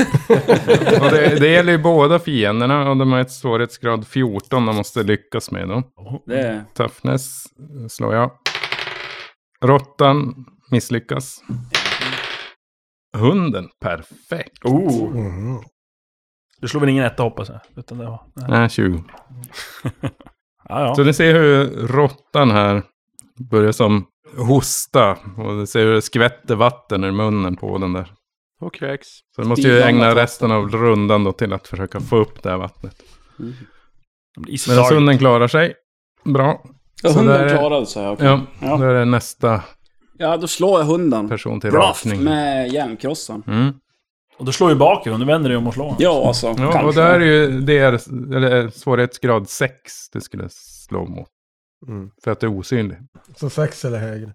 Och det, det gäller ju båda fienderna och de har ett svårighetsgrad 14 de måste lyckas med då.
Det är...
Toughness slår jag. Råttan misslyckas. Hunden, perfekt.
Oh.
Mhm.
Du slår väl ingen etta hoppas jag? Utan det var, nej.
Nej, 20.
Ja,
Så
ja.
ni ser hur råttan här börjar som hosta. Och ni ser hur det skvätter vatten ur munnen på den där.
Och kräks.
Så ni måste ju
Stigande
ägna
vatten.
resten av rundan då till att försöka få upp det här vattnet.
Det blir
Medan
sorg.
hunden klarar sig. Bra.
Ja,
Så där
hunden
är-
klarade sig. okej.
Ja,
Ja.
då är det nästa
Ja, då slår jag hunden.
person till
Bluff
rakning.
med järnkrossen.
Mm.
Och du slår ju bakifrån, du vänder dig om och slår.
Ja, alltså.
Ja, och
kanske.
det här är ju det är, eller, eh, svårighetsgrad 6 du skulle slå mot.
Mm.
För att det är osynlig.
Så sex eller högre.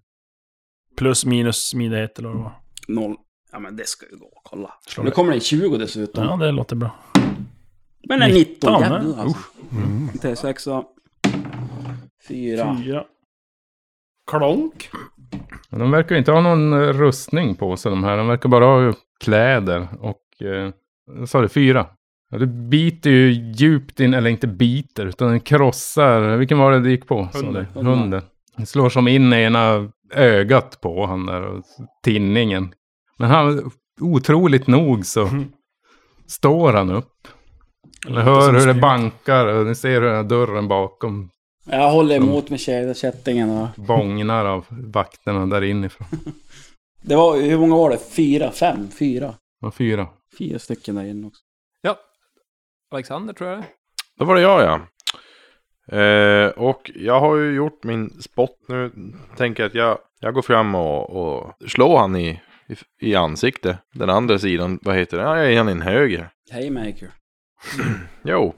Plus minus smidighet eller vad det var.
Noll. Ja, men det ska ju gå. Kolla.
Slår
nu
det.
kommer det en 20 dessutom.
Ja, det låter bra.
Men en 19,
19,
jävlar
nej.
alltså.
Mm.
T6. Fyra.
Fyra. Klonk.
Men de verkar ju inte ha någon eh, rustning på sig de här. De verkar bara ha kläder och... Eh, jag sa det, fyra. Ja, du biter ju djupt in, eller inte biter, utan den krossar... Vilken var det det gick på? sa du?
Hunden.
Hunden. Den slår som in i ena ögat på han där, och tinningen. Men han, otroligt nog så står han upp. Ni hör hur det bankar och ni ser hur den här dörren bakom
Jag håller emot med tjej- kättingen. va.
bångnar av vakterna där inifrån.
Det var, hur många var det? Fyra? Fem? Fyra?
De fyra.
Fyra stycken där inne också.
Alexander tror jag det är.
Då var det jag ja. Eh, och jag har ju gjort min spot nu. Tänker att jag, jag går fram och, och slår han i, i, i ansikte. Den andra sidan, vad heter det? Ja, jag ger han en höger.
Haymaker.
Jo,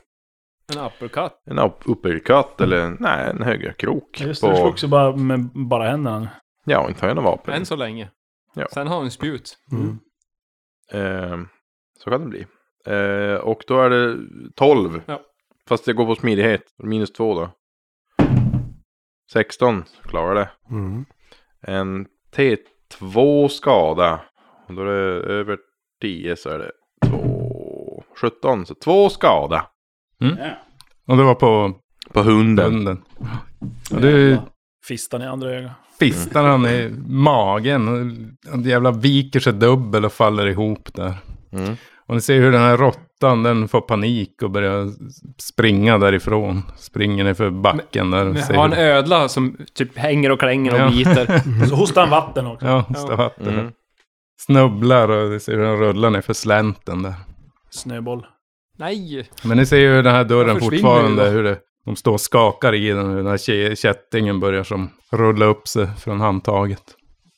En uppercut.
en upp- uppercut eller en- nej, en högerkrok.
Just det, du slog också bara med bara händerna.
Ja, inte har jag något vapen.
Än så länge.
Ja.
Sen har han spjut.
Mm.
Eh, så kan det bli. Eh, och då är det 12.
Ja.
Fast det går på smidighet. Minus 2 då. 16 klarar det.
Mm.
En T2 skada. Och då är det över 10 så är det 2. 17. Så 2 skada.
Och det var på
På hunden.
hunden. Och du
Fistan i andra ögat.
fistar han i magen. och Han jävla viker sig dubbel och faller ihop där.
Mm.
Och ni ser hur den här råttan, den får panik och börjar springa därifrån. Springer ner för backen där. Och
Men
ser
har en
hur...
ödla som typ hänger och klänger och
Ja. (laughs)
biter.
Mhm.
Så hostar han vatten också.
Ja, stavatten.
Mm.
Snubblar och ni ser hur den rullar ner för slänten där.
Snöboll.
Nej!
Men ni ser ju hur den här dörren
Jag försvinner
fortfarande,
ju.
hur det, de står och skakar i den. Hur den här kä- kättingen börjar som rulla upp sig från handtaget.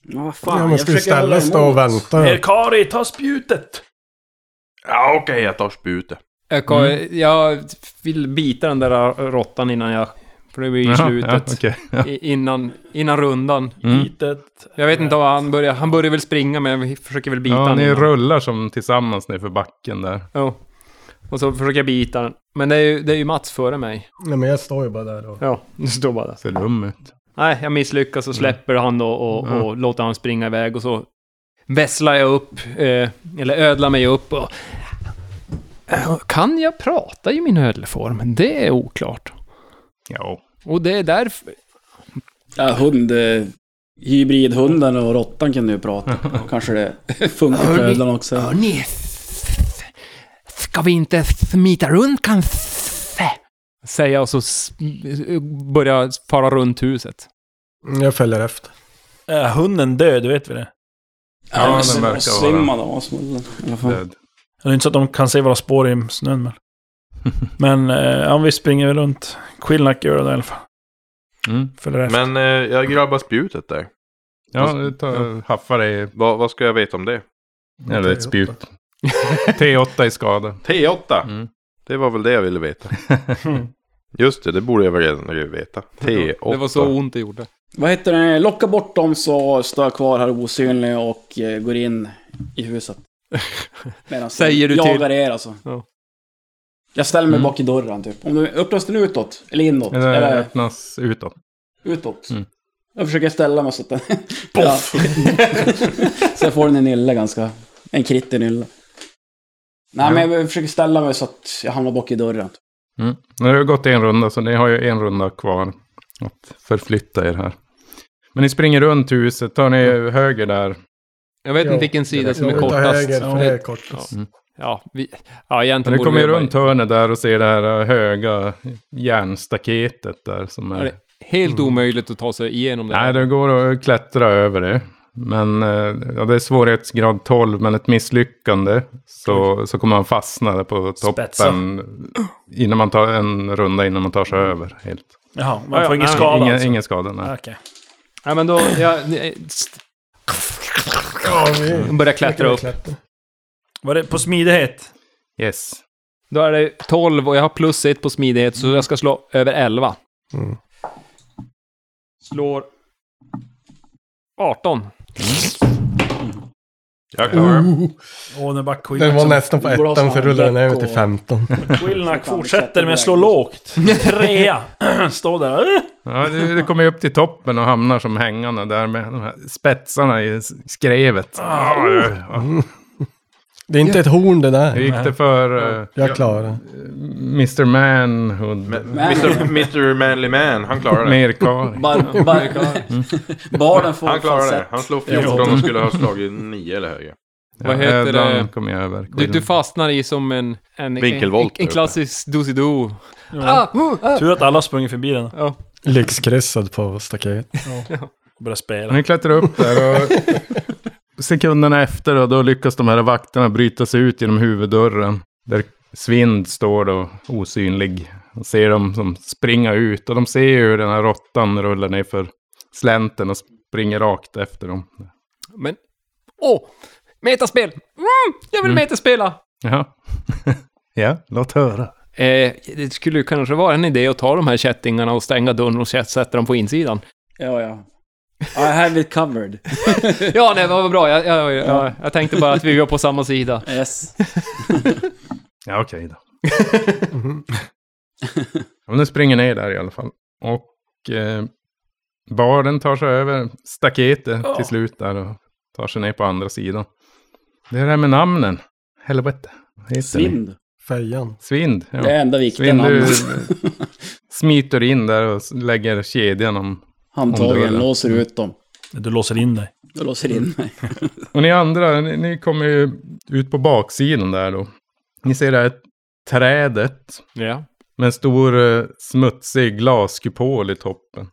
Men vad fan,
Ja, man
jag
ska ju
försöker hålla
istället stå
emot.
och vänta.
Erkari, ta spjutet!
Ja okej, jag tar spjutet.
Jag, kan- jag vill bita den där råttan innan jag... För det blir ju
Jaha,
slutet.
Ja, okej. ja.
I- Innan, innan rundan.
Mm.
Bitet.
Jag vet inte om han börjar... Han börjar väl springa men jag försöker väl bita
ja,
han
ni
innan.
rullar som tillsammans ner för backen där.
Ja. Och så försöker jag bita den. Men det är ju, det är ju Mats före mig.
Nej, men jag står ju bara där och...
Ja, det står bara där.
Ser dum ut.
Nej, jag misslyckas och släpper han då och,
Mm. Ja.
och låter han springa iväg och så vässlar jag upp, eh, eller ödlar mig upp och... Eh, Kan jag prata i min ödleform? Det är oklart.
Ja.
Och det är därför...
Ja, hund... Eh, hybridhunden och råttan kunde ju
(laughs)
prata. Kanske det (laughs) funkar för
Hörni.
ödlan också.
Hörni, s- ska vi inte smita runt kanske? Säger jag och så s- börjar fara
(laughs)
runt huset.
Mm, Jag följer efter.
Är Äh, hunden död, vet vi det?
Ja, den verkar vara-
Svimmad av smullen. i alla fall.
(laughs) Död.
Det är inte så att de kan se våra spår i snön men... men eh, ja, vi springer väl runt. Quillnack gör det i alla fall.
Mm.
Följer efter.
Men eh, jag grabbar spjutet där.
Ja, du tar, haffar dig.
Vad- vad ska jag veta om det?
Eller ett spjut. T8 i skada.
T8!
Mm.
Det var väl det jag ville
(laughs)
veta. Just det, det borde jag väl redan veta. T8.
Det var så ont det gjorde.
Vad heter det? Locka bort dem så står jag kvar här osynlig och eh, går in i
(laughs)
huset. Medan
Säger du
jag
till-
jagar er alltså.
Ja.
Jag ställer mig
Mm.
bak i dörren typ. Om du öppnas den utåt? Eller inåt?
Eller
Eller,
öppnas utåt.
utåt?
Mm.
Jag försöker ställa mig så
(laughs)
att den... Ja. (laughs) så jag får den en nylle ganska... En kritt i nylle. Nej men jag försöker ställa mig så att jag hamnar bak i dörren. typ.
Mm. Nu har det gått en runda, så ni har ju en runda kvar att förflytta er här. Men ni springer runt huset, tar ni höger där.
Jag vet
Ja,
inte vilken sida som
Jag
är
vill ta
kortast.
höger, för det är kort.
Ja, vi, ja
Men
egentligen
ni kommer ju
vi bara-
runt hörnet där och ser det här höga järnstaketet där som
Ja,
är...
det är helt omöjligt att ta sig igenom det.
Nej,
här.
det går att klättra över det. Men eh, ja, det är svårighetsgrad 12, men ett misslyckande så, så kommer man fastna där på toppen.
Spetsa.
Innan man tar en runda innan man tar sig över helt.
Jaha, man
Ja,
får
ja,
ingen
nej,
skada
ingen,
alltså?
ingen skada, nej.
Ah, Okej.
Nej, men då... Jag, jag
Ja, vi
börjar Mm. klättra upp.
klättra.
Var det på smidighet?
Yes.
Då är det 12 och jag har plus 1 på smidighet, så jag ska slå över 11.
Mm.
Slår 18.
(laughs)
Jag klarar det.
Åh,
Den
den bara
var
Quillnack.
nästan på
Blåsa
ettan så rullade den ner
däck
till
och-
15.
Quillnack fortsätter med att slå lågt. Trea. (laughs) Står där.
Ja, det, det kommer ju upp till toppen och hamnar som hängande där med de här spetsarna i s- skrevet. Ah, ja.
Det är inte ett horn det
Hur
där.
gick det för eh,
Jag klarar det.
Mr Manhood?
Men- Mr. Mr. Manly Man, han klarar det.
Merkar.
Bar, bar,
Mm.
barnen får
Han klarar det.
falsett.
Han slog 14 och skulle ha slagit 9 eller högre.
Vad heter det?
Ödlan kom jag över.
Du, du fastnar i som en... en
Vinkelvolt
En, en
där
klassisk Ah, doosido.
Tur att alla har sprungit förbi den.
Lyxkryssad på staket.
Börjar spela.
Ni klättrar upp där och sekunderna efter då, då lyckas de här vakterna bryta sig ut genom huvuddörren. Där Svind står då osynlig. Och ser dem som springa ut och de ser ju hur den här råttan rullar ner för slänten och springer rakt efter dem.
Men... Åh! metaspel! Mm, jag vill metaspela!
Ja. (laughs) ja, låt höra.
Eh, det skulle ju kanske vara en idé att ta de här kättingarna och stänga dörren och sätt- sätta dem på insidan.
Ja, ja. I have it covered.
Ja, nej, vad bra. Jag, jag, jag, jag, jag tänkte bara att vi var på samma sida.
Yes.
Ja, okej då.
Mhm.
ja, men de springer ner där i alla fall. Och eh, barden tar sig över staketet till slut där och tar sig ner på andra sidan. Det är det här med namnen. Helvete. Vad heter ni?
Svind.
Fejan.
Svind. Ja.
Det är enda viktiga
Svind, du
namnet.
smiter in där och lägger kedjan om.
Handtagen,
Omdöda.
låser ut dem.
Du låser in dig.
Du låser in mig.
Och ni andra, ni, ni kommer ju ut på baksidan där då. Ni ser det här trädet
Ja.
Med en stor eh, smutsig glaskupol i toppen.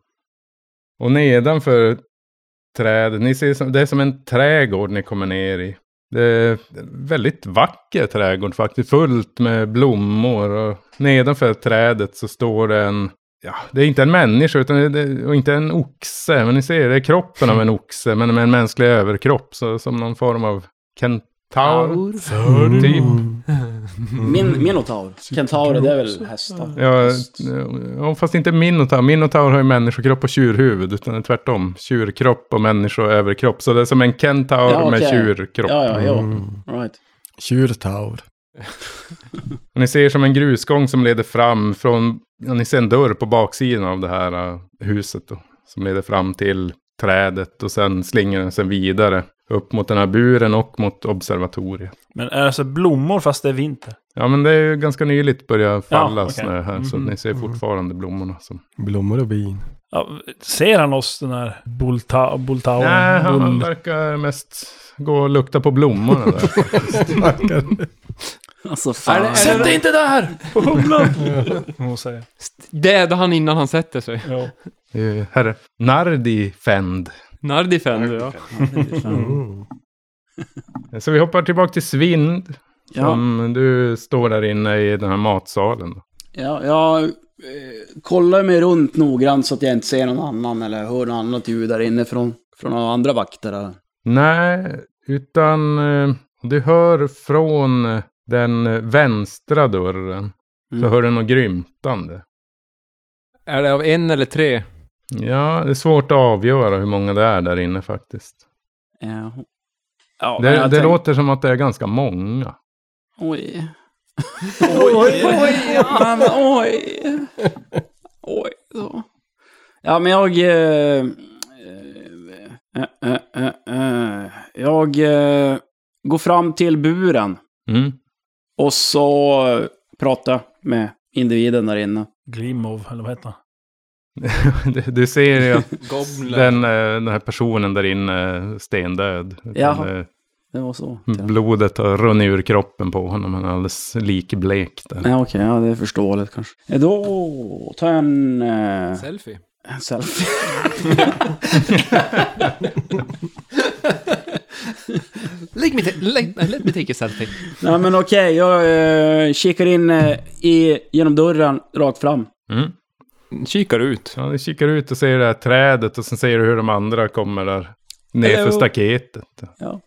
Och nedanför trädet, ni ser, som- det är som en trädgård ni kommer ner i. Det är en väldigt vacker trädgård faktiskt, fullt med blommor. Och nedanför trädet så står det en, ja, det är inte en människa utan det, det, och inte en oxe. Men ni ser, det är kroppen av en oxe, men med en mänsklig överkropp. Så, som någon form av kentaur, typ.
Mm.
Min, minotaur. Kentaurer, det är väl hästar?
Mm. Ja, eh, ja, fast inte minotaur. Minotaur har ju människokropp och tjurhuvud, utan det är tvärtom. Tjurkropp och människoöverkropp. Så det är som en kentaur
Ja,
med
okej.
tjurkropp.
Ja, ja,
Mm.
ja.
Mm.
Right.
Tjurtaur.
Och Ni ser som en grusgång som leder fram från... Ja, ni ser en dörr på baksidan av det här eh, huset då, som leder fram till trädet och sen slingar den sig vidare upp mot den här buren och mot observatoriet.
Men är det alltså blommor fast det är vinter?
Ja, men det är ju ganska nyligt börjat falla
okej.
snö här, så
Mhm.
ni ser fortfarande blommorna. Som...
Blommor och bin.
Ja, ser han oss den här bulta, bultauren?
Nej, han
Bull-
verkar mest gå och lukta på blommorna där.
Alltså fan.
Sätt dig inte där! På
(laughs)
humlan! Hon säger.
Döda han innan han sätter sig.
Ja.
Eh, Herr Nardi Fend.
Nardi Fender, ja.
Mm.
Så vi hoppar tillbaka till Svind.
Ja,
Som du står där inne i den här matsalen.
ja, jag eh, kollar mig runt noggrant så att jag inte ser någon annan eller hör något annat ljud där inne från, från några andra vakter. Där.
Nej, utan eh, du hör från eh, den vänstra dörren. Så
Mm.
hör du något grymtande.
Är det av en eller tre?
Ja, det är svårt att avgöra hur många det är där inne faktiskt.
Ja.
Ja, men
Det,
jag
det
tänk-
låter som att det är ganska många. (laughs)
Oj. Oj, oj, ja, men oj. Oj, så. Ja, men jag... Eh, eh, eh, eh, eh, jag eh, går fram till buren
Mm.
och så pratar med individen där inne.
Glimov, eller vad heter han?
Du, du ser ju att
Gobler.
den, eh, den här personen där inne är stendöd. Utan,
Jaha.
eh,
Det var så.
Blodet har runnit ur kroppen på honom. Han är alldeles likblek där.
Ja, okej, ja, det är förståeligt kanske. Eh, Då tar jag en, eh,
Selfie.
en selfie. (laughs)
Lägg mig lägg, let me take a selfie.
Nej, men okej, jag eh, kikar in eh, i, genom dörren rakt fram.
Mm.
Kikar ut.
Ja, du kikar ut och ser det här trädet och sen ser du hur de andra kommer där. Ner för
Hello.
staketet.
Ja.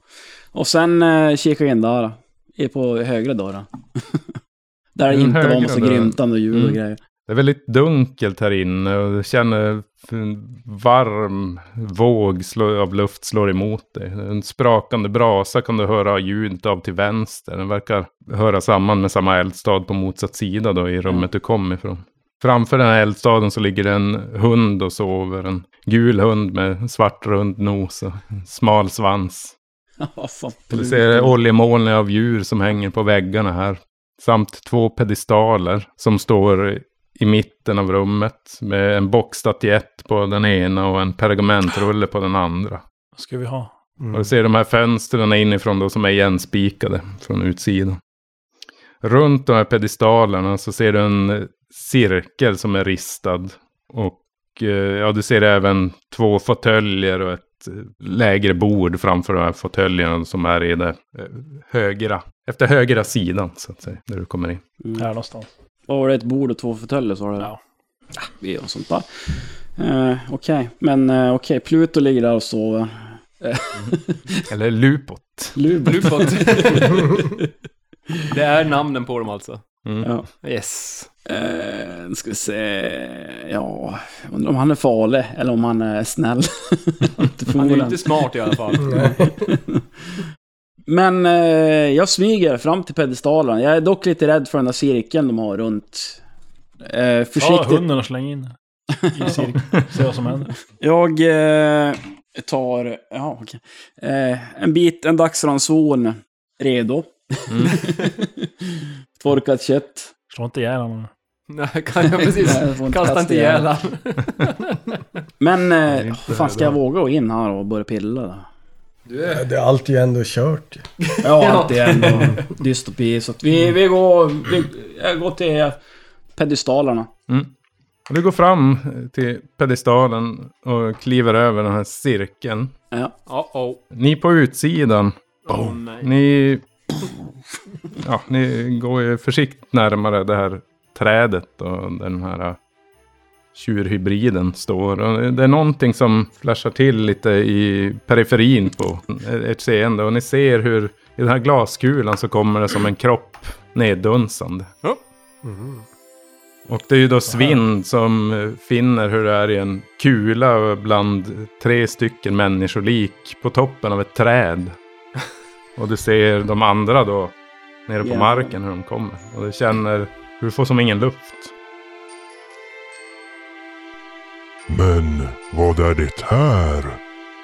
Och sen eh, kikar jag in där. är på högra dörren. (laughs) Där det
Den
inte var
högra
massa
dörren.
grymtande ljud
Mm.
och grejer. (laughs)
Det är väldigt dunkelt här inne och du känner f- en varm våg slå, av luft slår emot dig. En sprakande brasa kan du höra ljudet av till vänster. Den verkar höra samman med samma eldstad på motsatt sida då i rummet du kom ifrån. Framför den här eldstaden så ligger det en hund och sover. En gul hund med svart rund nos och en smal svans.
Vad fan,
Du
Mm.
ser oljemoln av djur som hänger på väggarna här. Samt två pedestaler som står i mitten av rummet. Med en bockstatyett på den ena och en pergamentrulle på den andra.
Vad ska vi ha?
Och du ser de här fönstren inifrån då som är igenspikade från utsidan. Runt de här pedestalerna så ser du en eh, cirkel som är ristad. Och eh, ja, du ser även två fåtöljer och ett eh, lägre bord framför de här fåtöljerna som är i det eh, högra. Efter högra sidan så att säga, när du kommer in.
Här någonstans.
Vad var det, ett bord och två fåtöljer sa du? Ah,
Ja.
Ja, vi gör sånt där. Eh, okej, men eh, okej, Pluto ligger där och sover.
Eller lupot.
Lubo.
(laughs) Lupot. det är namnen på dem alltså.
(laughs) Ja.
Yes.
Eh, nu ska vi se. Ja, undrar om han är farlig eller om han är snäll. (laughs) Inte
Han är
förmodligen.
inte smart i alla fall.
(laughs) Men eh, jag smyger fram till pedestalen. Jag är dock lite rädd för den där cirkeln de har runt. Eh,
Ta
försiktigt.
hunden och släng (laughs) in i cirkeln. Se vad som händer.
Jag eh, tar ja, okej. eh, en bit, en dagsranson redo.
Mm.
(laughs) Torkat kött.
Slå inte ihjäl honom.
Nej, kan jag precis.
Nej, (laughs) jag får
Kasta inte
ihjäl.
ihjäl han. (laughs)
Men
är
eh,
inte
fan ska jag våga gå in här och börja pilla? Då?
Det är allt ju ändå kört.
Ja, allt är ändå (laughs) dystopi. Så att vi, vi, går, vi jag går till pedestalerna.
Du går fram eh, till pedestalen och kliver över den här cirkeln.
Ja.
Uh-oh.
Ni på utsidan
Oh, nej.
Ni... Ja, ni går ju försiktigt närmare det här trädet och den här tjurhybriden står. Och det är någonting som flashar till lite i periferin på ert seende. Och ni ser hur i den här glaskulan så kommer det som en kropp neddunsande. Mm.
Ja.
Och det är ju då Svind som eh, finner hur det är i en kula bland tre stycken människolik på toppen av ett träd. Och du ser de andra då nere på
Jävlar.
marken hur de kommer. Och du känner hur du får som ingen luft.
Men vad är det här?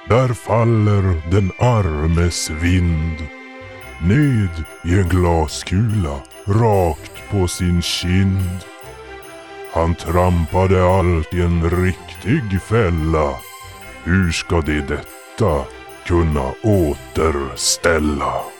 Där faller den armes vind. Ned i en glaskula, rakt på sin kind. Han trampade allt i en riktig fälla. Hur ska de detta kunna återställa?